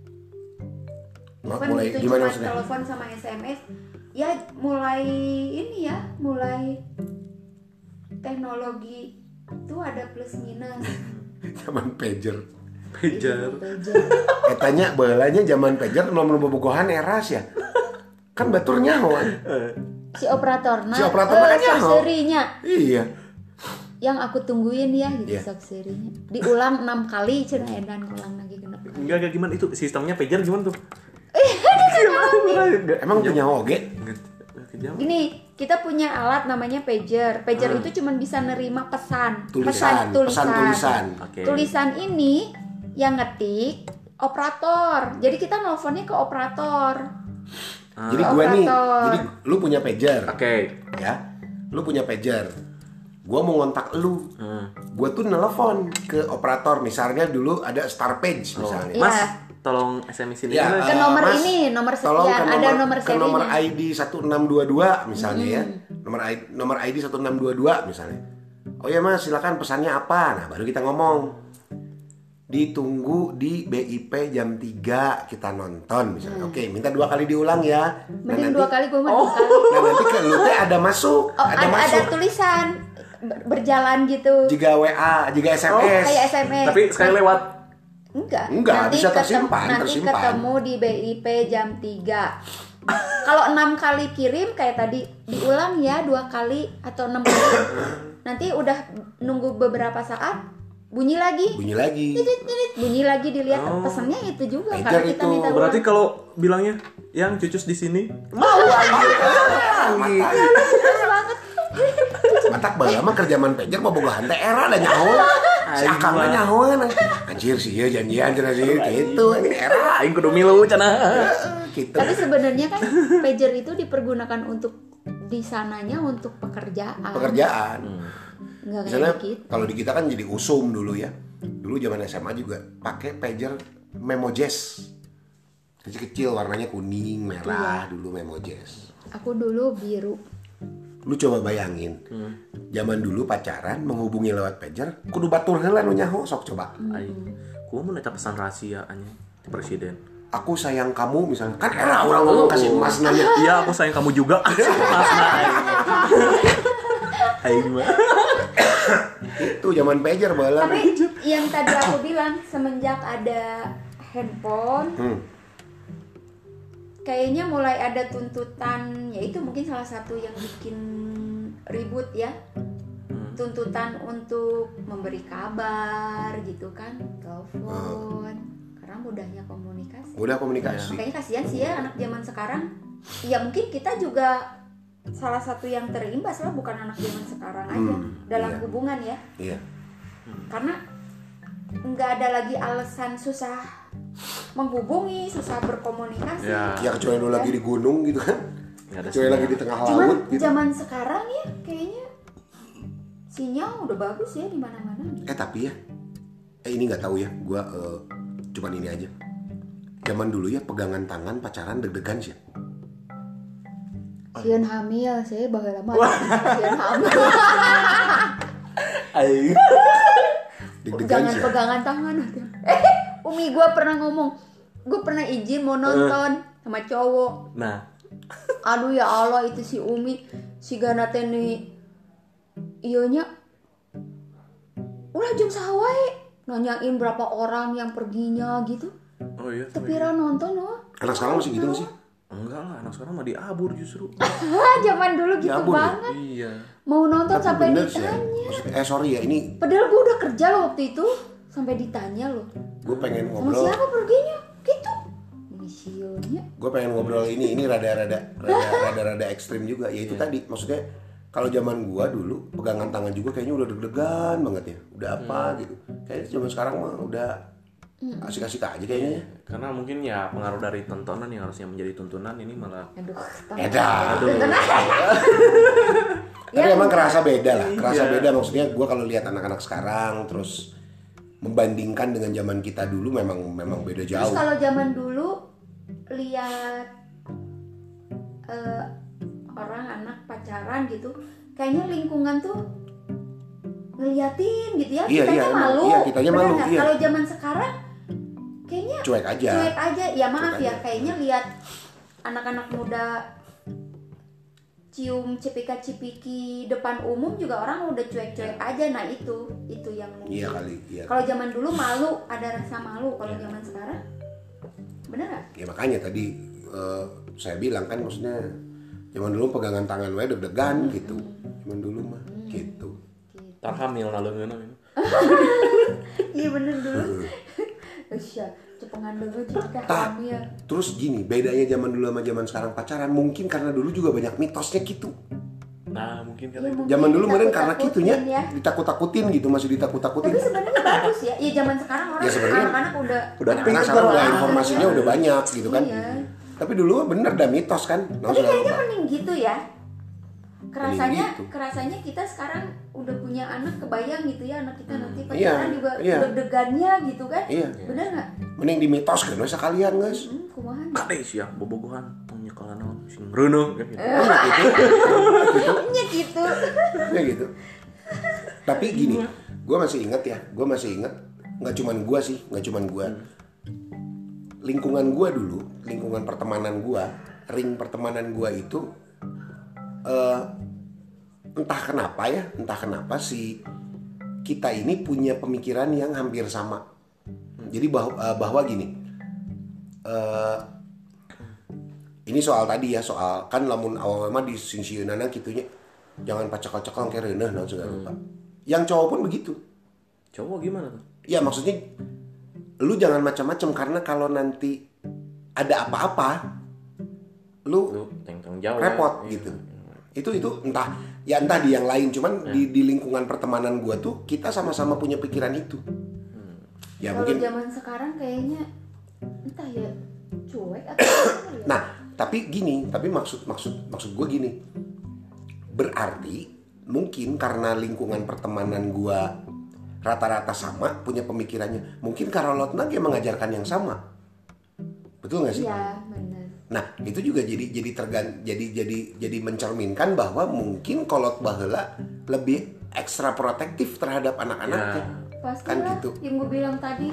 Speaker 2: Nggak, Oh,
Speaker 3: Handphone
Speaker 2: mulai
Speaker 3: itu
Speaker 2: gimana
Speaker 3: cuma
Speaker 2: maksudnya
Speaker 3: telepon sama SMS. Ya mulai ini ya, mulai teknologi itu ada plus minus.
Speaker 2: zaman pager
Speaker 1: Pager.
Speaker 3: Pager.
Speaker 2: katanya bolanya zaman pager nomor bobogohan eras ya kan batur nyawa
Speaker 3: si operatorna
Speaker 2: Si operatorna
Speaker 3: eh,
Speaker 2: kan nyaho.
Speaker 3: subserinya.
Speaker 2: iya
Speaker 3: yang aku tungguin ya gitu
Speaker 2: Iya.
Speaker 3: subserinya diulang enam kali cenah edan ulang lagi genep
Speaker 1: Enggak, enggak gimana itu sistemnya pager gimana tuh? ya,
Speaker 2: emang punya oge
Speaker 1: Kejam.
Speaker 3: gini kita punya alat namanya pager pager itu cuma bisa nerima
Speaker 2: Ah.
Speaker 3: pesan
Speaker 2: tulisan
Speaker 3: pesan tulisan
Speaker 2: pesan tulisan
Speaker 1: Oke.
Speaker 3: Tulisan ini yang ngetik operator jadi kita nelfonnya ke operator
Speaker 2: jadi gue nih
Speaker 3: Ah. Operator.
Speaker 2: jadi lu punya pager
Speaker 1: Oke.
Speaker 2: ya lu punya pager gue mau ngontak lu
Speaker 1: Hmm.
Speaker 2: gue tuh nelpon ke operator misalnya dulu ada star page misalnya
Speaker 1: Mas,
Speaker 3: Iya.
Speaker 1: tolong SMS ini.
Speaker 2: Ya,
Speaker 1: dulu.
Speaker 3: Ke
Speaker 2: eh,
Speaker 3: nomor ini, nomor
Speaker 2: tolong ke
Speaker 3: sekian. Ada nomor
Speaker 2: ke nomor
Speaker 3: serinya. Hmm.
Speaker 2: ID 1622 misalnya ya. Nomor ID nomor ID 1622 misalnya. Oh ya Mas, silakan pesannya apa? Nah, baru kita ngomong. Ditunggu di BIP jam 3 kita nonton misalnya. Oke, minta dua kali diulang ya. Nah,
Speaker 3: Hmm. mending
Speaker 2: nanti,
Speaker 3: dua kali gue mah dua kali
Speaker 2: nah, nanti ke lu teh ada masuk,
Speaker 3: oh,
Speaker 2: ada,
Speaker 3: ada, ada
Speaker 2: masuk.
Speaker 3: tulisan ber- berjalan gitu
Speaker 2: Jika WA, jika SMS.
Speaker 3: Oh, kayak SMS
Speaker 1: Tapi sekali lewat.
Speaker 3: Enggak.
Speaker 2: Enggak, bisa
Speaker 3: ketem-
Speaker 2: tersimpan,
Speaker 3: nanti
Speaker 2: tersimpan.
Speaker 3: ketemu di BIP jam 3. Kalau enam kali kirim kayak tadi diulang ya dua kali atau enam kali. nanti udah nunggu beberapa saat bunyi lagi.
Speaker 2: Bunyi lagi.
Speaker 3: Titit, titit, Bunyi lagi dilihat pesannya itu juga
Speaker 2: Pager
Speaker 3: kan kita
Speaker 2: itu,
Speaker 3: minta
Speaker 1: Berarti
Speaker 3: ulang.
Speaker 1: kalau bilangnya yang cucus di sini
Speaker 3: Terus Iya, banget.
Speaker 2: Matak bae mah kerja man pager mah boga hante era da nyaho. Si Akang mah nyaho nah. Anjir sih ieu janjian cenah sih gitu ini era
Speaker 1: aing kudu milu cenah.
Speaker 2: gitu.
Speaker 3: Tapi sebenarnya kan pager itu dipergunakan untuk di sananya untuk pekerjaan.
Speaker 2: Pekerjaan.
Speaker 3: Enggak
Speaker 2: Misalnya
Speaker 3: kayak gitu.
Speaker 2: kalau di kita kan jadi usum dulu ya. Dulu zaman SMA juga pakai pager Memojazz. Kecil-kecil warnanya kuning,
Speaker 3: Iya.
Speaker 2: merah dulu Memojazz.
Speaker 3: Aku dulu biru.
Speaker 2: Lu coba bayangin. Zaman dulu pacaran menghubungi lewat pager, kudu batur heula nu nyaho sok coba.
Speaker 1: Aing. Ku mun eta pesan rahasia anjing ti presiden.
Speaker 2: Aku sayang kamu misalnya. Kan era orang ngomong kasih emas ya? nanya.
Speaker 1: Iya, aku sayang kamu juga. Masna aing. Aing mah.
Speaker 2: Itu zaman pager bala.
Speaker 3: Tapi yang tadi aku bilang semenjak ada handphone
Speaker 2: Hmm.
Speaker 3: kayaknya mulai ada tuntutan ya itu mungkin salah satu yang bikin ribut ya
Speaker 2: Hmm.
Speaker 3: tuntutan untuk memberi kabar gitu kan telepon karena mudahnya komunikasi
Speaker 2: Udah komunikasi.
Speaker 3: makanya kasihan sih ya anak zaman sekarang ya mungkin kita juga salah satu yang terimbas lah bukan anak zaman sekarang aja
Speaker 2: Hmm,
Speaker 3: dalam
Speaker 2: iya.
Speaker 3: hubungan ya
Speaker 2: Iya.
Speaker 3: karena nggak ada lagi alasan susah menghubungi, susah berkomunikasi.
Speaker 1: Ya.
Speaker 2: Ya kecuali lu lagi di gunung gitu kan.
Speaker 1: Nggak ada
Speaker 2: Kecuali
Speaker 1: sinyal.
Speaker 2: lagi di tengah laut
Speaker 3: Cuman
Speaker 2: gitu.
Speaker 3: zaman sekarang ya kayaknya sinyal udah bagus ya di mana-mana.
Speaker 2: Eh tapi ya. Eh ini nggak tahu ya. Gua eh, cuman ini aja. Zaman dulu ya pegangan tangan pacaran deg-degan sih. Oh.
Speaker 3: Sieun hamil sih baheula mah. Sieun hamil.
Speaker 1: nah. Aing.
Speaker 2: Deg-degan
Speaker 3: Jangan
Speaker 2: sih.
Speaker 3: pegangan tangan. Eh, Umi gua pernah ngomong, gua pernah izin
Speaker 2: Eh.
Speaker 3: mau nonton sama cowok.
Speaker 1: Nah,
Speaker 3: aduh ya Allah itu si Umi si Gana teh nih ionya ulah jam sawai nanyain berapa orang yang perginya gitu
Speaker 1: oh iya.
Speaker 3: tepira nonton loh
Speaker 2: Anak sekarang masih gitu nggak sih?
Speaker 1: Enggak lah, anak sekarang mah diabur justru.
Speaker 3: Hah, zaman dulu gitu
Speaker 2: Diabur ya?
Speaker 3: banget
Speaker 1: Iya.
Speaker 3: mau nonton
Speaker 2: Tapi
Speaker 3: sampai
Speaker 2: bener sih. ya.
Speaker 3: ditanya
Speaker 2: Maksudnya, eh sorry ya ini
Speaker 3: padahal gua udah kerja loh waktu itu sampai ditanya loh
Speaker 2: gue pengen
Speaker 3: sama
Speaker 2: ngobrol.
Speaker 3: siapa perginya gitu misionya
Speaker 2: Gue pengen ngobrol ini ini rada-rada rada-rada ekstrim juga. Ya itu tadi maksudnya kalau zaman gua dulu pegangan tangan juga kayaknya udah deg-degan banget ya udah apa gitu kayaknya zaman sekarang mah udah
Speaker 3: Hmm.
Speaker 2: asik-asik aja kayaknya ya.
Speaker 1: Karena mungkin ya pengaruh dari tontonan yang harusnya menjadi tuntunan ini malah
Speaker 3: aduh
Speaker 2: Edan.
Speaker 3: aduh Iya.
Speaker 2: Tapi emang kerasa beda lah, kerasa
Speaker 1: Iya.
Speaker 2: beda maksudnya gua kalau lihat anak-anak sekarang terus membandingkan dengan zaman kita dulu memang memang beda
Speaker 3: terus
Speaker 2: jauh.
Speaker 3: kalau zaman dulu lihat eh, orang anak pacaran gitu kayaknya lingkungan tuh ngeliatin gitu ya
Speaker 2: Iya,
Speaker 3: kitanya
Speaker 2: iya, emang.
Speaker 3: malu
Speaker 2: Iya, kitanya
Speaker 3: Bener
Speaker 2: malu,
Speaker 3: nggak?
Speaker 2: iya.
Speaker 3: kalau zaman sekarang kayaknya
Speaker 2: Cuek aja.
Speaker 3: cuek aja ya maaf
Speaker 2: Cuek
Speaker 3: ya
Speaker 2: aja.
Speaker 3: kayaknya lihat anak-anak muda cium cipika-cipiki depan umum juga orang udah cuek-cuek aja nah itu itu yang
Speaker 2: Iya kali, iya.
Speaker 3: kalau zaman dulu malu ada rasa malu kalau zaman sekarang bener nggak
Speaker 2: Ya makanya tadi eh, saya bilang kan maksudnya zaman dulu pegangan tangan wae
Speaker 3: Hmm.
Speaker 2: deg-degan gitu. Zaman dulu mah gitu.
Speaker 1: tarhamil nalungeuna.
Speaker 3: iya bener dulu Usya, cepengan dulu jika
Speaker 2: Tah.
Speaker 3: hamil Iya,
Speaker 2: Terus gini, bedanya zaman dulu sama zaman sekarang pacaran mungkin karena dulu juga banyak mitosnya gitu.
Speaker 1: Nah, mungkin
Speaker 3: Iya,
Speaker 1: karena itu.
Speaker 3: mungkin
Speaker 2: Zaman dulu meren karena
Speaker 3: ditakut-takutin
Speaker 2: kitunya
Speaker 3: ya.
Speaker 2: ditakut-takutin gitu, masih ditakut-takutin.
Speaker 3: tapi sebenarnya bagus ya iya zaman sekarang orang
Speaker 2: Ya, sebenarnya
Speaker 3: anak-anak udah gitu
Speaker 2: udah
Speaker 3: anak-anak
Speaker 2: karena sekarang udah
Speaker 3: orang.
Speaker 2: informasinya udah banyak gitu kan
Speaker 3: Iya.
Speaker 2: tapi dulu mah bener dah mitos kan Nah,
Speaker 3: Tapi
Speaker 2: sudah
Speaker 3: kayaknya
Speaker 2: lupa.
Speaker 3: mending gitu ya. Kerasanya
Speaker 2: Mending gitu.
Speaker 3: kerasanya kita sekarang udah punya anak kebayang gitu ya anak kita nanti
Speaker 2: Iya,
Speaker 3: pacaran juga
Speaker 2: iya.
Speaker 3: deg-degannya gitu kan.
Speaker 2: Iya.
Speaker 3: Bener nggak?
Speaker 2: mending dimitos kan masa kalian guys
Speaker 3: Hmm, kumahan.
Speaker 2: Iya gitu.
Speaker 1: Kade sia bobogohan tong nyekala naon sing gitu. reunung.
Speaker 2: Eh. gitu.
Speaker 3: Nya gitu.
Speaker 2: ya gitu tapi gini gue masih inget ya gue masih inget nggak cuman gue sih nggak cuman gue lingkungan gue dulu lingkungan pertemanan gue ring pertemanan gue itu eh, entah kenapa ya entah kenapa si kita ini punya pemikiran yang hampir sama jadi bahwa, eh, bahwa gini eh, ini soal tadi ya soal kan lamun awal mah di singsiunana kitunya jangan pacak-pacakang kayak reuneuh naon segala rupa. yang cowok pun begitu
Speaker 1: Cowok gimana tuh?
Speaker 2: ya maksudnya lu jangan macam-macam karena kalau nanti ada apa-apa lu
Speaker 1: Lu tengkang jauh. ya,
Speaker 2: repot gitu itu itu entah ya entah di yang lain cuman di di lingkungan pertemanan gua tuh kita sama-sama punya pikiran itu ya
Speaker 3: Kalau
Speaker 2: mungkin
Speaker 3: zaman sekarang kayaknya entah ya cuek atau apa ya.
Speaker 2: Nah, tapi gini, tapi maksud maksud maksud gue gini. Berarti mungkin karena lingkungan pertemanan gue rata-rata sama punya pemikirannya. Mungkin Karolotna dia mengajarkan yang sama. Betul nggak sih?
Speaker 3: Iya, bener.
Speaker 2: Nah, itu juga jadi jadi tergan jadi jadi jadi mencerminkan bahwa mungkin kolot baheula lebih ekstra protektif terhadap
Speaker 1: Ya.
Speaker 2: anak-anaknya.
Speaker 3: Pasti
Speaker 2: Kan
Speaker 3: lah
Speaker 2: gitu.
Speaker 3: yang gue bilang tadi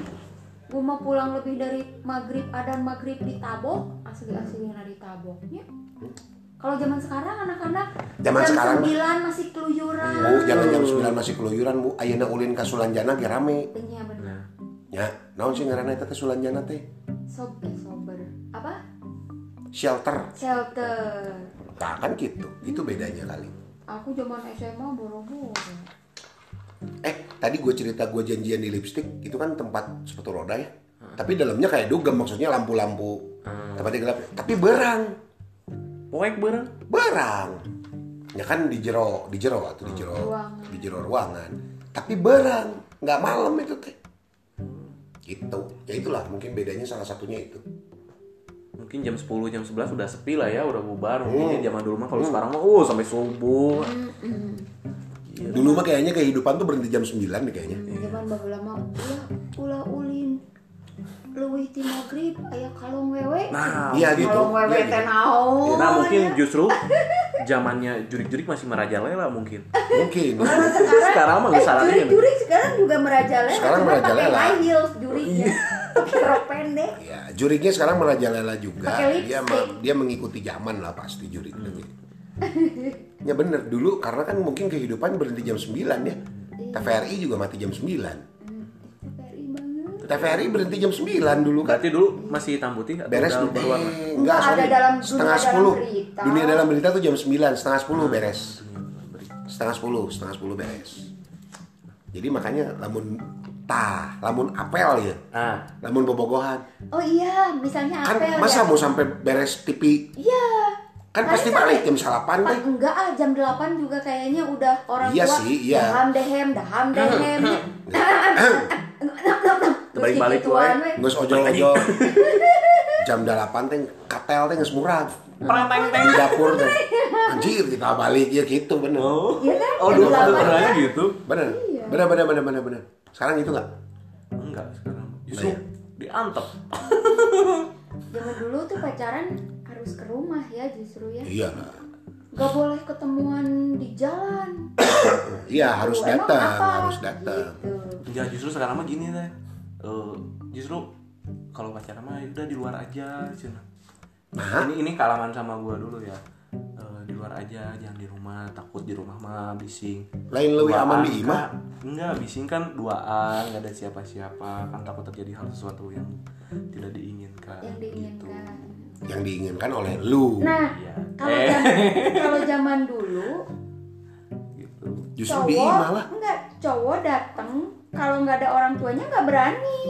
Speaker 3: gue mau pulang lebih dari maghrib ada maghrib di tabok asli aslinya di taboknya kalau zaman sekarang anak-anak
Speaker 2: Zaman
Speaker 3: jam
Speaker 2: sekarang mah.
Speaker 3: 9 masih keluyuran
Speaker 2: Bu, jangan jam 9 masih keluyuran, Bu. Ayeuna ulin ka Sulanjana ge rame.
Speaker 3: Iya bener
Speaker 1: Nah,
Speaker 2: Ya, naon sih ngaranna eta teh Sulanjana teh?
Speaker 3: Sob, eh, sober apa
Speaker 2: Shelter.
Speaker 3: shelter
Speaker 2: Nah, kan gitu. Itu bedanya kali.
Speaker 3: aku zaman SMA boro-boro
Speaker 2: Eh, tadi gue cerita gue janjian di lipstick, itu kan tempat sepatu roda ya. Tapi dalamnya kayak dugem, maksudnya lampu-lampu. Tempatnya gelap. Tapi berang,
Speaker 1: poek bareng.
Speaker 2: berang. Ya kan di jero, di jero atau di jero,
Speaker 3: Ruangan.
Speaker 2: di jero ruangan. Tapi berang, nggak malam itu teh. Gitu. Ya itulah mungkin bedanya salah satunya itu.
Speaker 1: Mungkin jam 10, jam 11 udah sepi lah ya, udah bubar.
Speaker 2: Hmm.
Speaker 1: Mungkin zaman dulu mah kalau sekarang mah uh sampai subuh.
Speaker 2: Dulu mah kayaknya kehidupan tuh berhenti jam 9 nih kayaknya.
Speaker 3: zaman baheula mah ulah ulah ulin leuwih ti maghrib aya kalong wewe
Speaker 1: Nah,
Speaker 2: Iya gitu.
Speaker 3: kalong
Speaker 2: Iya
Speaker 3: wewe
Speaker 2: gitu.
Speaker 3: teh naon Iya.
Speaker 1: Nah mungkin justru zamannya jurik-jurik masih merajalela mungkin.
Speaker 2: Mungkin.
Speaker 1: Sekarang mah nggak
Speaker 3: Eh, jurik
Speaker 1: sarannya.
Speaker 3: jurik sekarang juga merajalela
Speaker 2: Sekarang
Speaker 3: cuma
Speaker 2: merajalela. Iya.
Speaker 3: pakai high heels juriknya pakai rok pendek
Speaker 2: Ya, juriknya sekarang merajalela juga.
Speaker 3: Pakai Hmm.
Speaker 2: Dia ma- dia mengikuti zaman lah pasti juriknya. ya bener dulu karena kan mungkin kehidupan berhenti jam 9 ya.
Speaker 3: Iya.
Speaker 2: TVRI juga mati jam 9.
Speaker 3: TVRI banget
Speaker 2: TVRI berhenti jam 9 dulu kan.
Speaker 1: Berarti dulu masih hitam putih atau
Speaker 2: Beres
Speaker 1: udah
Speaker 2: dulu.
Speaker 1: berwarna?
Speaker 3: Enggak, ada dalam
Speaker 2: setengah
Speaker 3: dunia dalam
Speaker 2: 10.
Speaker 3: berita.
Speaker 2: Dunia dalam berita tuh jam 9, setengah 10 beres. Setengah 10, setengah 10 beres. Jadi makanya lamun tah, lamun apel ya.
Speaker 1: Nah,
Speaker 2: Lamun bobogohan.
Speaker 3: oh iya misalnya
Speaker 2: Kan
Speaker 3: apel
Speaker 2: masa
Speaker 3: ya
Speaker 2: mau sampai beres TV
Speaker 3: iya
Speaker 2: kan pasti balik jam salapan
Speaker 3: Pa-
Speaker 2: deh
Speaker 3: enggak ah jam 8 juga kayaknya udah orang
Speaker 2: Iya
Speaker 3: tua
Speaker 2: sih, iya.
Speaker 3: daham dehem daham dehem
Speaker 1: Terbalik-balik
Speaker 3: Gituan
Speaker 1: we.
Speaker 3: we.
Speaker 2: nggak ojol-ojol jam delapan teh katel teh nggak murah di dapur teh anjir kita balik ya gitu bener
Speaker 1: Oh,
Speaker 3: Iya kan?
Speaker 1: oh
Speaker 3: Yang
Speaker 1: dulu ada
Speaker 3: lama
Speaker 1: pernahnya
Speaker 3: kan?
Speaker 1: gitu?
Speaker 2: bener bener bener bener bener bener sekarang gitu nggak
Speaker 1: Enggak sekarang. iya. Justru
Speaker 2: Nah,
Speaker 1: diantep.
Speaker 3: zaman dulu tuh pacaran harus ke rumah ya justru ya
Speaker 2: iya
Speaker 3: nggak boleh ketemuan di jalan
Speaker 2: iya harus
Speaker 3: Emang
Speaker 2: datang
Speaker 3: apa?
Speaker 2: harus datang
Speaker 3: Gitu.
Speaker 1: Ya justru sekarang mah gini teh. Eh, justru kalau pacaran mah udah di luar aja cina. Ini ini kealaman sama gua dulu ya. Eh, di luar aja jangan di rumah takut di rumah mah bising
Speaker 2: lain lebih
Speaker 1: Duaan,
Speaker 2: aman di
Speaker 1: Kak.
Speaker 2: imah
Speaker 1: enggak bising kan duaan nggak ada siapa-siapa kan takut terjadi hal sesuatu yang tidak diinginkan
Speaker 3: yang
Speaker 1: gitu
Speaker 3: diinginkan.
Speaker 2: yang diinginkan oleh lu
Speaker 3: Nah,
Speaker 1: Iya.
Speaker 3: kalau
Speaker 1: Eh.
Speaker 3: zaman, kalau zaman dulu
Speaker 1: gitu
Speaker 2: justru di
Speaker 3: cowok
Speaker 2: imah lah
Speaker 3: enggak cowok datang kalau nggak ada orang tuanya nggak berani,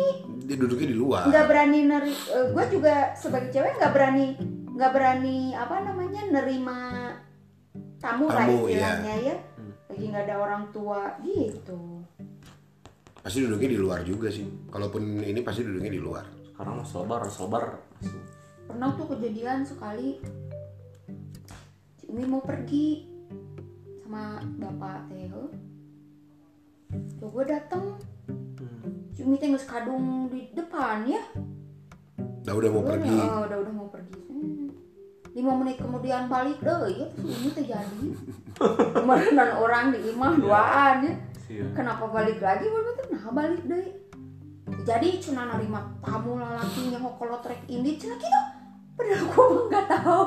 Speaker 2: dia duduknya di luar
Speaker 3: nggak berani neri. gue juga sebagai cewek nggak berani, nggak berani apa namanya nerima tamu, lah
Speaker 2: Tamu, iya.
Speaker 3: istilahnya ya. Lagi nggak ada orang tua gitu.
Speaker 2: pasti duduknya di luar juga sih kalaupun ini pasti duduknya di luar
Speaker 1: sekarang mah selebar selebar masuk
Speaker 3: pernah tuh kejadian sekali si Umi mau pergi sama bapak Teo tuh gue dateng
Speaker 1: Hmm.
Speaker 3: si Umi teh geus kadung di depan ya
Speaker 2: udah Nah, udah mau
Speaker 3: Gua
Speaker 2: pergi
Speaker 3: nih, oh, udah udah mau pergi Hmm. lima menit kemudian balik deh ya terus si Umi teh jadi kemarin orang di imah duaan ya
Speaker 1: Siap.
Speaker 3: kenapa balik lagi gue bilang nah balik deh jadi cina nerima tamu lalaki yang kalau trek ini cina gitu padahal gue mah nggak tahu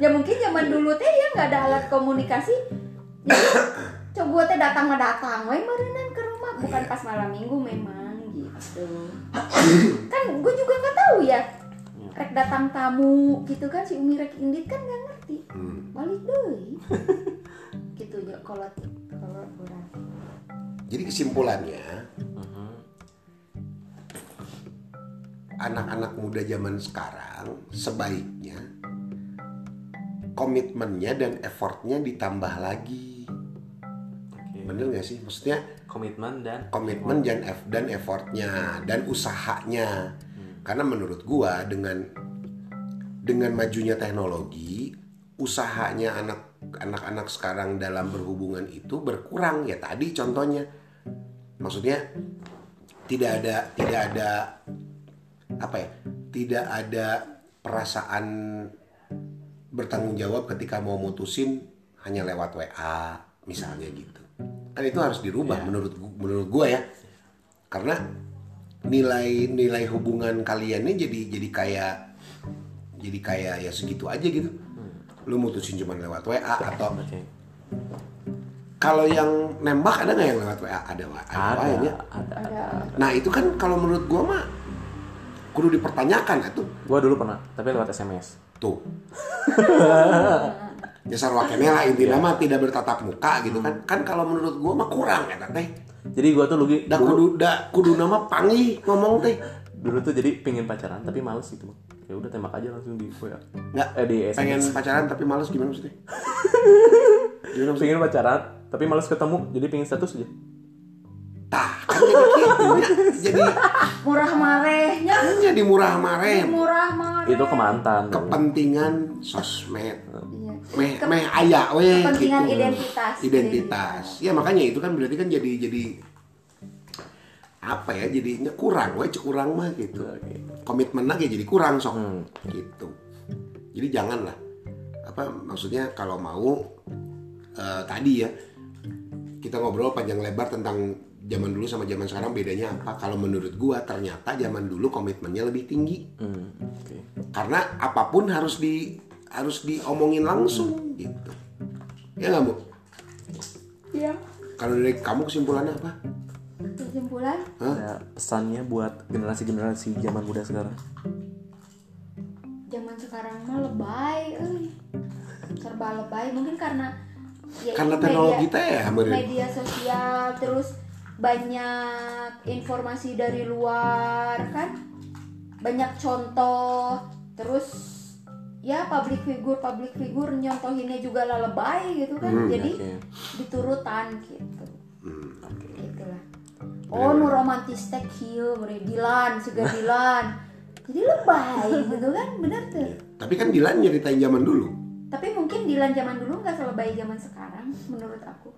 Speaker 3: ya mungkin zaman dulu teh ya nggak ada alat komunikasi jadi coba gue teh datang mah datang we merenan ke rumah bukan pas malam minggu memang gitu kan gue juga nggak tahu ya rek datang tamu gitu kan si umi rek indit kan nggak ngerti
Speaker 2: Hmm.
Speaker 3: balik deh gitu ya kalau kalau kurang
Speaker 2: Jadi kesimpulannya
Speaker 1: Mhm.
Speaker 2: anak-anak muda zaman sekarang sebaiknya komitmennya dan effortnya ditambah lagi.
Speaker 1: Oke.
Speaker 2: Bener nggak sih? Maksudnya
Speaker 1: komitmen dan
Speaker 2: komitmen dan eff- dan effortnya dan usahanya. Karena menurut gua dengan dengan majunya teknologi, usahanya anak anak-anak sekarang dalam berhubungan itu berkurang ya tadi contohnya. Maksudnya tidak ada tidak ada apa ya? Tidak ada perasaan bertanggung jawab ketika mau mutusin hanya lewat WA misalnya gitu. Kan itu harus dirubah menurut gu- menurut gua ya. Karena nilai-nilai hubungan kaliannya jadi jadi kayak jadi kayak ya segitu aja gitu. Lu mutusin cuma lewat WA atau
Speaker 1: Oke.
Speaker 2: kalau yang nembak ada nggak yang lewat WA? Ada Wak. ada,
Speaker 1: ada
Speaker 2: Wak, ya.
Speaker 1: ada
Speaker 3: ada
Speaker 2: Nah, itu kan kalau menurut gua mah kudu dipertanyakan atuh.
Speaker 1: gua dulu pernah tapi lewat sms
Speaker 2: Tuh. Nyasar wakene lah intinya mah tidak bertatap muka gitu kan.
Speaker 3: Hmm.
Speaker 2: Kan kalau menurut gua mah kurang ya teh.
Speaker 1: jadi gua tuh lugi
Speaker 2: Da
Speaker 1: dulu,
Speaker 2: kudu da kudu nama pangi ngomong teh.
Speaker 1: dulu tuh jadi pengen pacaran tapi males gitu Bang. ya udah tembak aja langsung di WA
Speaker 2: Nggak
Speaker 1: eh di SMS
Speaker 2: pengen pacaran tapi males gimana maksudnya? Gimana maksudnya?
Speaker 1: pengen pacaran tapi males ketemu jadi pengen status aja
Speaker 2: Tah, kan jadi gitu ya. Jadi
Speaker 3: murah marehnya
Speaker 2: kan jadi murah mareh.
Speaker 3: murah mareh
Speaker 1: itu ke mantan dulu.
Speaker 2: Kepentingan sosmed.
Speaker 3: Iya.
Speaker 2: Meh meh aya we
Speaker 3: kepentingan
Speaker 2: gitu.
Speaker 3: identitas.
Speaker 2: identitas ya makanya itu kan berarti kan jadi jadi apa ya jadinya kurang we cek kurang mah gitu
Speaker 1: Oke.
Speaker 2: komitmen lagi jadi kurang sok
Speaker 1: Hmm.
Speaker 2: gitu jadi janganlah apa maksudnya kalau mau eh, tadi ya kita ngobrol panjang lebar tentang zaman dulu sama zaman sekarang bedanya apa kalau menurut gua ternyata zaman dulu komitmennya lebih tinggi
Speaker 1: Hmm, oke.
Speaker 2: karena apapun harus di harus diomongin
Speaker 1: Hmm.
Speaker 2: langsung gitu ya nggak bu
Speaker 3: Iya.
Speaker 2: kalau dari kamu kesimpulannya apa
Speaker 3: kesimpulan
Speaker 1: Ada pesannya buat generasi-generasi zaman muda sekarang
Speaker 3: zaman sekarang mah lebay euy. serba lebay mungkin karena ya
Speaker 2: karena
Speaker 3: itu
Speaker 2: teknologi
Speaker 3: media,
Speaker 2: teh ya Meren.
Speaker 3: media sosial terus banyak informasi dari luar kan banyak contoh terus ya public figure public figure nyontohinnya juga lah lebay gitu kan jadi
Speaker 1: oke.
Speaker 3: diturutan gitu
Speaker 2: Hmm.
Speaker 3: itulah oh nu romantis teh kieu meureun Dilan siga Dilan jadi lebay gitu kan bener tuh
Speaker 2: Tapi kan Dilan nyeritain zaman dulu.
Speaker 3: tapi mungkin Dilan zaman dulu nggak selebay zaman sekarang menurut aku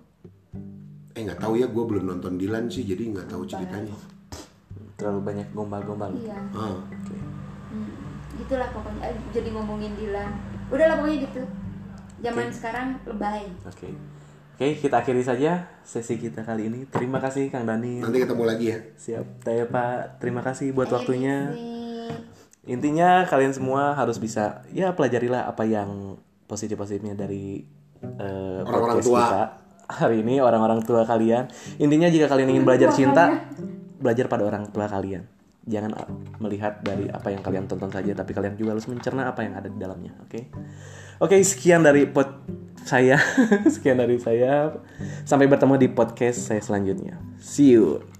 Speaker 2: Eh nggak tahu ya, gue belum nonton Dilan sih, jadi nggak tahu ceritanya.
Speaker 1: terlalu banyak gombal-gombal
Speaker 3: iya
Speaker 2: Ah.
Speaker 1: Oke.
Speaker 3: Hmm, gitulah pokoknya Eh, jadi ngomongin Dilan udahlah pokoknya gitu zaman sekarang lebay
Speaker 1: Oke. Oke, kita akhiri saja sesi kita kali ini. Terima kasih Kang Dani.
Speaker 2: Nanti ketemu lagi ya.
Speaker 1: Siap, saya Pak. Terima kasih buat
Speaker 3: Eh,
Speaker 1: waktunya.
Speaker 3: sih.
Speaker 1: Intinya kalian semua harus bisa ya pelajarilah apa yang positif-positifnya dari eh,
Speaker 2: Orang-orang
Speaker 1: podcast
Speaker 2: tua.
Speaker 1: kita hari ini orang-orang tua kalian. Intinya jika kalian ingin belajar cinta, belajar pada orang tua kalian. Jangan a- melihat dari apa yang kalian tonton saja, tapi kalian juga harus mencerna apa yang ada di dalamnya. Oke, oke sekian dari pod saya, sekian dari saya. Sampai bertemu di podcast saya selanjutnya. See you.